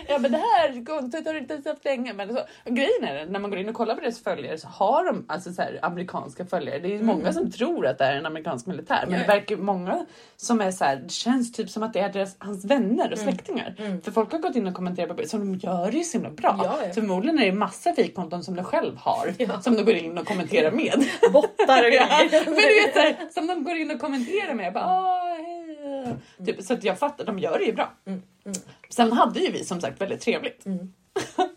Speaker 2: Jag bara, det här kontot har du inte ens haft länge. Men så, och grejen är när man går in och kollar på deras följare så har de alltså så här, amerikanska följare. Det är ju många som tror att det är en amerikansk militär, men
Speaker 1: Mm. Ja,
Speaker 2: det
Speaker 1: ja.
Speaker 2: verkar ju många som är så här, det känns typ som att det är deras, hans vänner och
Speaker 1: Mm.
Speaker 2: släktingar. För folk har gått in och kommenterat på bilder, som de gör det ju så himla bra.
Speaker 1: Ja, ja.
Speaker 2: Förmodligen är det massa fejkkonton som de själv har som de går in och kommenterar med.
Speaker 1: Bottar och
Speaker 2: Ja,
Speaker 1: grejer.
Speaker 2: men du vet, så här, som de går in och kommenterar med. Jag bara, "Åh, hej. Typ, så att jag fattar, de gör det ju bra.
Speaker 1: Mm,
Speaker 2: Sen hade ju vi som sagt väldigt trevligt.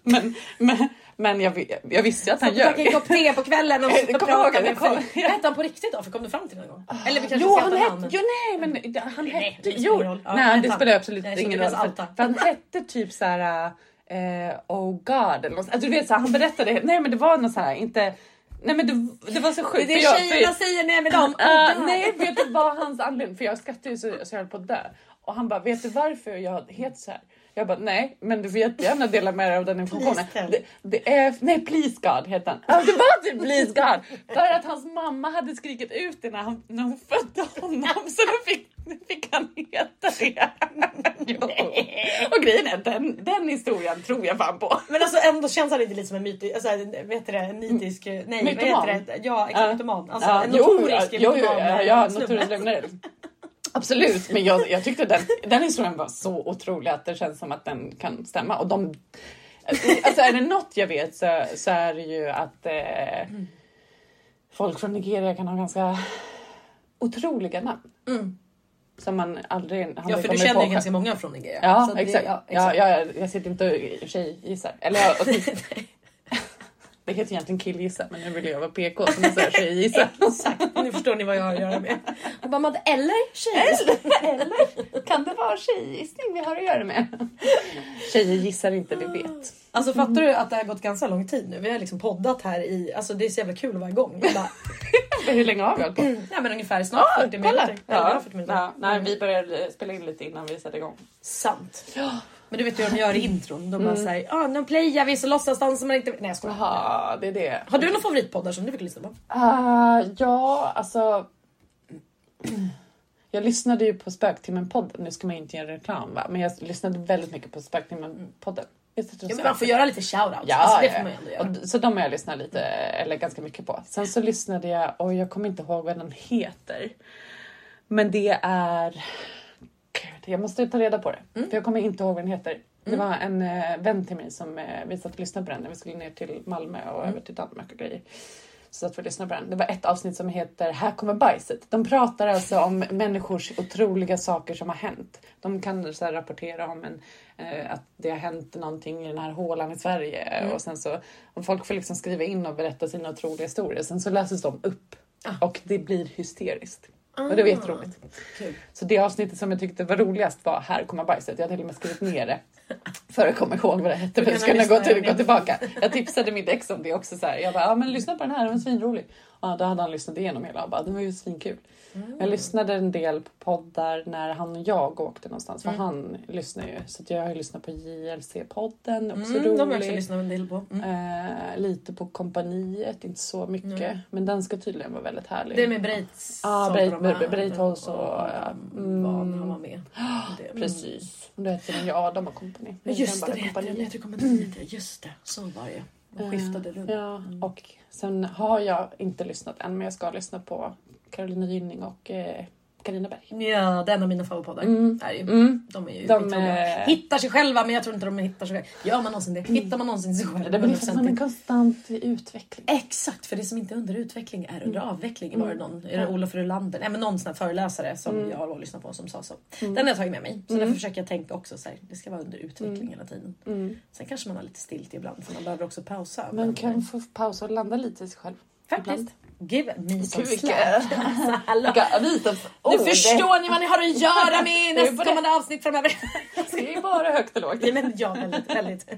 Speaker 2: men, men, men jag, vi- jag visste ju att han
Speaker 1: Vi drack en
Speaker 2: ljög.
Speaker 1: kopp te på kvällen och
Speaker 2: Eh,
Speaker 1: så
Speaker 2: kom
Speaker 1: pratade
Speaker 2: ihåg,
Speaker 1: vi.
Speaker 2: jag kom-
Speaker 1: Vad hette han på riktigt då? För kom du fram till det någon gång? Eller vi kanske
Speaker 2: Jo,
Speaker 1: ska
Speaker 2: han
Speaker 1: ta
Speaker 2: hette,
Speaker 1: namn.
Speaker 2: jo, nej, men det- han
Speaker 1: nej,
Speaker 2: hette,
Speaker 1: det spelar
Speaker 2: jo,
Speaker 1: ingen roll. Ja,
Speaker 2: nej, det
Speaker 1: vänta.
Speaker 2: spelar absolut
Speaker 1: Jag
Speaker 2: ingen
Speaker 1: känner
Speaker 2: roll.
Speaker 1: deras
Speaker 2: För,
Speaker 1: alta.
Speaker 2: för han hette typ så här, eh, oh god eller något. Alltså, du vet, så här, han berättade, nej, men det var något så här, inte, nej, men det, det var så sjukt.
Speaker 1: Det
Speaker 2: för jag-
Speaker 1: är
Speaker 2: för-
Speaker 1: tjejerna säger nej med dem.
Speaker 2: Ah, nej, vet du vad hans anledning? För jag skrattade ju så, så jag höll på att dö. Och han bara, vet du varför jag heter så här? Jag bara, nej, men du får jättegärna dela med dig av den informationen.
Speaker 1: Please tell.
Speaker 2: Det, det är, nej, please God heter han. Ja, det var typ please God. För att hans mamma hade skrikit ut det när, han, när hon födde honom. Så då fick Fick han heta det? jo. Och grejen är, den, den historien tror jag fan på.
Speaker 1: Men alltså ändå känns han inte lite som en mytisk, alltså, vad heter det, nitisk, nej
Speaker 2: Mytoman.
Speaker 1: vad heter det, ja exakt
Speaker 2: Ja.
Speaker 1: mytoman. Alltså
Speaker 2: Ja,
Speaker 1: en
Speaker 2: jo,
Speaker 1: notorisk
Speaker 2: jo, jo, ja, ja,
Speaker 1: snubbe.
Speaker 2: notorisk lögnare. Absolut, men jag, jag tyckte den, den historien var så otrolig att det känns som att den kan stämma. Och de, alltså är det något jag vet så, så är det ju att eh, folk från Nigeria kan ha ganska otroliga namn.
Speaker 1: Mm.
Speaker 2: Som man aldrig...
Speaker 1: Ja
Speaker 2: aldrig
Speaker 1: för
Speaker 2: kommer
Speaker 1: du känner ju
Speaker 2: på.
Speaker 1: ganska många från Nigeria.
Speaker 2: Ja,
Speaker 1: Så att det-
Speaker 2: exakt.
Speaker 1: Ja,
Speaker 2: Ja,
Speaker 1: exakt.
Speaker 2: ja, jag, jag sitter inte och i och för sig gissar. Eller jag, det heter egentligen killgissa, men nu vill jag vara PK så måste jag tjejgissa.
Speaker 1: exakt. Nu förstår ni vad jag har att göra med. Jag bara, men eller tjejer.
Speaker 2: Eller kan det vara tjejgissning vi har att göra med? Tjejer gissar inte, vi vet.
Speaker 1: Alltså fattar du att det har gått ganska lång tid nu? Vi har liksom poddat här i, alltså det är så jävla kul varje gång. Jag bara,
Speaker 2: Hur länge har vi hållit på?
Speaker 1: nej men ungefär snart 40 minuter. Eller
Speaker 2: Ah, Ja, Mm.
Speaker 1: 40 minuter.
Speaker 2: ja, nej, vi började spela in lite innan vi satte igång.
Speaker 1: Sant. Men du vet ju hur de gör i intron. De bara såhär, ah, nu playar vi så låtsas dansa man inte... Nej jag skojar.
Speaker 2: Jaha, det är det.
Speaker 1: Har du några favoritpoddar som du brukar lyssna på?
Speaker 2: Ah, ja, alltså... Jag lyssnade ju på Spöktimmen-podden. Nu ska man inte göra reklam, va? men jag lyssnade väldigt mycket på Spöktimmen-podden. Visst heter den
Speaker 1: Ja, men man får göra lite shoutout.
Speaker 2: Ja,
Speaker 1: alltså, det
Speaker 2: ja,
Speaker 1: får man
Speaker 2: ja.
Speaker 1: ju ändå göra.
Speaker 2: Och d- så de har jag lyssnat lite, eller ganska mycket på. Sen så lyssnade jag, och jag kommer inte ihåg vad den heter. Men det är... Gud, jag måste ta reda på det, för jag kommer inte ihåg vad den heter. Det var en eh, vän till mig som eh, vi satt och lyssnade på den när vi skulle ner till Malmö och över till Danmark och grejer. Så att vi lyssnade på den. Det var ett avsnitt som heter Här kommer bajset. De pratar alltså om människors otroliga saker som har hänt. De kan så här rapportera om en, eh, att det har hänt någonting i den här hålan i Sverige och sen så och folk får liksom skriva in och berätta sina otroliga historier. Sen så läses de upp och det blir hysteriskt. Och det var jätteroligt.
Speaker 1: Kul.
Speaker 2: Så det avsnittet som jag tyckte var roligast var Här kommer bajset. Jag hade till och med skrivit ner det för att komma ihåg vad det hette för
Speaker 1: kan
Speaker 2: att kunna
Speaker 1: lyssna
Speaker 2: gå, till,
Speaker 1: igen.
Speaker 2: gå tillbaka. Jag tipsade mitt ex om det också. Så här. Jag bara, ja men lyssna på den här, den var svinrolig. Ja, då hade han lyssnat igenom hela och bara, den var ju svinkul. Jag lyssnade en del på poddar när han och jag åkte någonstans,
Speaker 1: Mm.
Speaker 2: för han lyssnar ju. Så att jag har ju lyssnat på JLC-podden, också
Speaker 1: Mm, de har jag också
Speaker 2: rolig.
Speaker 1: lyssnat en del på. Mm.
Speaker 2: Eh, lite på kompaniet, inte så mycket. Men den ska tydligen vara väldigt härlig.
Speaker 1: Det är med Breitz.
Speaker 2: Ja,
Speaker 1: som
Speaker 2: Breit-
Speaker 1: de här-
Speaker 2: Breit- Breitholtz och- ja.
Speaker 1: mm. vad han var med. Det- mm.
Speaker 2: Precis. Och det heter den ju Adam och kompani.
Speaker 1: Men just det, det
Speaker 2: Den bara
Speaker 1: hette den. Jag
Speaker 2: kompaniet.
Speaker 1: tror jag kommer inte ihåg det. Just det, så var det De skiftade runt.
Speaker 2: Eh, Ja, och sen har jag inte lyssnat än, men jag ska lyssna på Carolina Gynning och eh, Carina Berg.
Speaker 1: Ja, det är en av mina favoritpoddar.
Speaker 2: Mm.
Speaker 1: Är ju. De är Mm. ju
Speaker 2: De,
Speaker 1: skitroliga.
Speaker 2: eh,
Speaker 1: Hittar sig själva men jag tror inte de hittar sig själva. Gör man någonsin det? Hittar man någonsin sig själv?
Speaker 2: Det blir liksom
Speaker 1: 100%?
Speaker 2: en konstant utveckling.
Speaker 1: Exakt, för det som inte är under utveckling är under avveckling. Var det någon? Är det
Speaker 2: Ja.
Speaker 1: Olof Rulander? Nej men någon sån här föreläsare som jag har lyssnat på som sa så. Den har jag tagit med mig. Så därför försöker jag tänka också så här, det ska vara under utveckling hela tiden.
Speaker 2: Mm.
Speaker 1: Sen kanske man har lite stilt ibland för man behöver också pausa.
Speaker 2: Man kan få pausa och landa lite i sig själv.
Speaker 1: Faktiskt. Give me some
Speaker 2: Gud, vilka-
Speaker 1: slack. Alltså, hallå.
Speaker 2: Vilka visdoms-
Speaker 1: Nu
Speaker 2: ord.
Speaker 1: förstår ni vad ni har att göra med i
Speaker 2: Det är bara-
Speaker 1: nästkommande avsnitt framöver.
Speaker 2: Det är bara högt och lågt.
Speaker 1: Nej, men ja, väldigt, väldigt.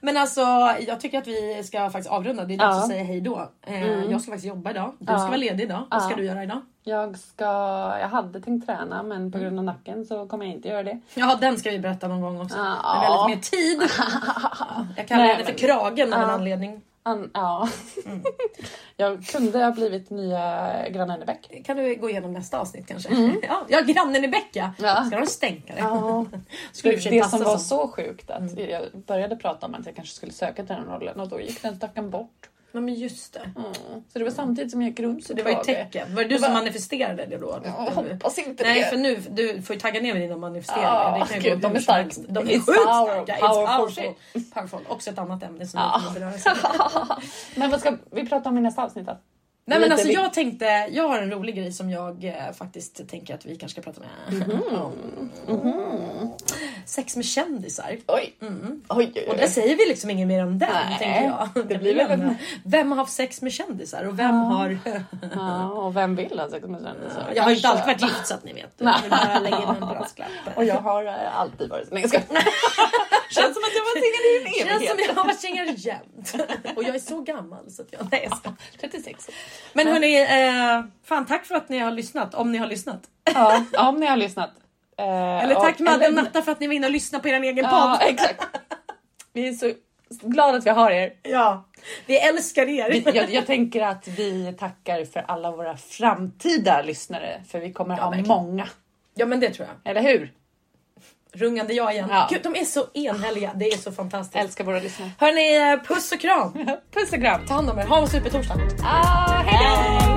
Speaker 1: Men alltså, jag tycker att vi ska faktiskt avrunda. Det är dags
Speaker 2: Ja. Mm.
Speaker 1: att säga hej då. Eh, Jag ska faktiskt jobba idag. Du ska vara ledig idag. Vad ska
Speaker 2: Ja.
Speaker 1: du göra idag?
Speaker 2: Jag, ska, jag hade tänkt träna, men på grund av nacken så kommer jag inte göra det.
Speaker 1: Ja, den ska vi berätta någon gång också.
Speaker 2: Ja.
Speaker 1: När vi har lite mer tid. Jag kallar
Speaker 2: Nej,
Speaker 1: henne för
Speaker 2: men-
Speaker 1: Kragen av en
Speaker 2: Ja.
Speaker 1: anledning.
Speaker 2: An, ja. Mm. jag kunde ha blivit nya Gröna Enebäck.
Speaker 1: Kan du gå igenom nästa avsnitt kanske? Ja, ja, grannen i Becka.
Speaker 2: Ja.
Speaker 1: Ska de stänka det?
Speaker 2: Mm. Ja.
Speaker 1: Skulle i och för
Speaker 2: Det,
Speaker 1: sig Mm.
Speaker 2: det
Speaker 1: passa
Speaker 2: som var så sjukt att jag började prata om att jag kanske skulle söka till den rollen och då gick den stackaren bort.
Speaker 1: Ja, men just det.
Speaker 2: Mm. Så det var samtidigt som jag gick runt
Speaker 1: Så det var ju ett
Speaker 2: klagade.
Speaker 1: tecken. Var det du
Speaker 2: var-
Speaker 1: som manifesterade det då?
Speaker 2: Ja, Jag hoppas inte
Speaker 1: Nej,
Speaker 2: det.
Speaker 1: för nu, du får ju tagga ner med dina manifesteringar.
Speaker 2: Ja,
Speaker 1: det kan ju
Speaker 2: gud,
Speaker 1: gå
Speaker 2: de är
Speaker 1: hur som
Speaker 2: stark-
Speaker 1: helst. De är
Speaker 2: It's
Speaker 1: sjukt
Speaker 2: power-
Speaker 1: starka. It's
Speaker 2: powerful Ah.
Speaker 1: powerful. powerful. Också ett annat ämne som
Speaker 2: Ja.
Speaker 1: vi kommer beröra sen.
Speaker 2: Men vad ska vi prata om i nästa avsnitt då?
Speaker 1: Nej men
Speaker 2: Lite
Speaker 1: alltså
Speaker 2: vi-
Speaker 1: jag tänkte, jag har en rolig grej som jag eh, faktiskt tänker att vi kanske ska prata
Speaker 2: Mm.
Speaker 1: med. om. Mm. Sex med kändisar. Mm.
Speaker 2: Oj. Oj, oj,
Speaker 1: Och där
Speaker 2: oj.
Speaker 1: säger vi liksom inget mer om den
Speaker 2: Eh. Nej,
Speaker 1: tänker jag.
Speaker 2: det
Speaker 1: Det
Speaker 2: blir
Speaker 1: blir
Speaker 2: väl-
Speaker 1: en- Vem har haft sex med kändisar och vem har...
Speaker 2: Ja, och vem vill ha sex med kändisar?
Speaker 1: Jag har ju inte alltid varit gift så att ni vet. Jag vill bara lägga in en brasklapp.
Speaker 2: Och jag har eh, alltid varit... Nej, jag skojar. Känns som att jag var singel i en
Speaker 1: Känns
Speaker 2: evighet.
Speaker 1: som jag har varit singel jämt. Och jag är så gammal så att jag... Nej, jag ska.
Speaker 2: 36.
Speaker 1: Men hörni, eh, fan tack för att ni har lyssnat. Om ni har lyssnat.
Speaker 2: Ja, ja, om ni har lyssnat. Eh,
Speaker 1: Eller tack
Speaker 2: och-
Speaker 1: Madde och
Speaker 2: eller-
Speaker 1: Natta för att ni var inne och lyssnade på er egen
Speaker 2: Ja,
Speaker 1: podd.
Speaker 2: exakt. Vi är så glada att vi har er.
Speaker 1: Ja, vi älskar er.
Speaker 2: Vi, jag, jag tänker att vi tackar för alla våra framtida lyssnare för vi kommer ha
Speaker 1: verkligen.
Speaker 2: många.
Speaker 1: Ja men det tror jag.
Speaker 2: Eller hur?
Speaker 1: Rungande jag igen.
Speaker 2: Ja.
Speaker 1: Gud, de är så enhälliga. Det är så fantastiskt.
Speaker 2: Älskar våra lyssnare.
Speaker 1: Hörni, puss och kram.
Speaker 2: Puss och kram.
Speaker 1: Ta hand om er. Ha en supertorsdag.
Speaker 2: Ah, hej då!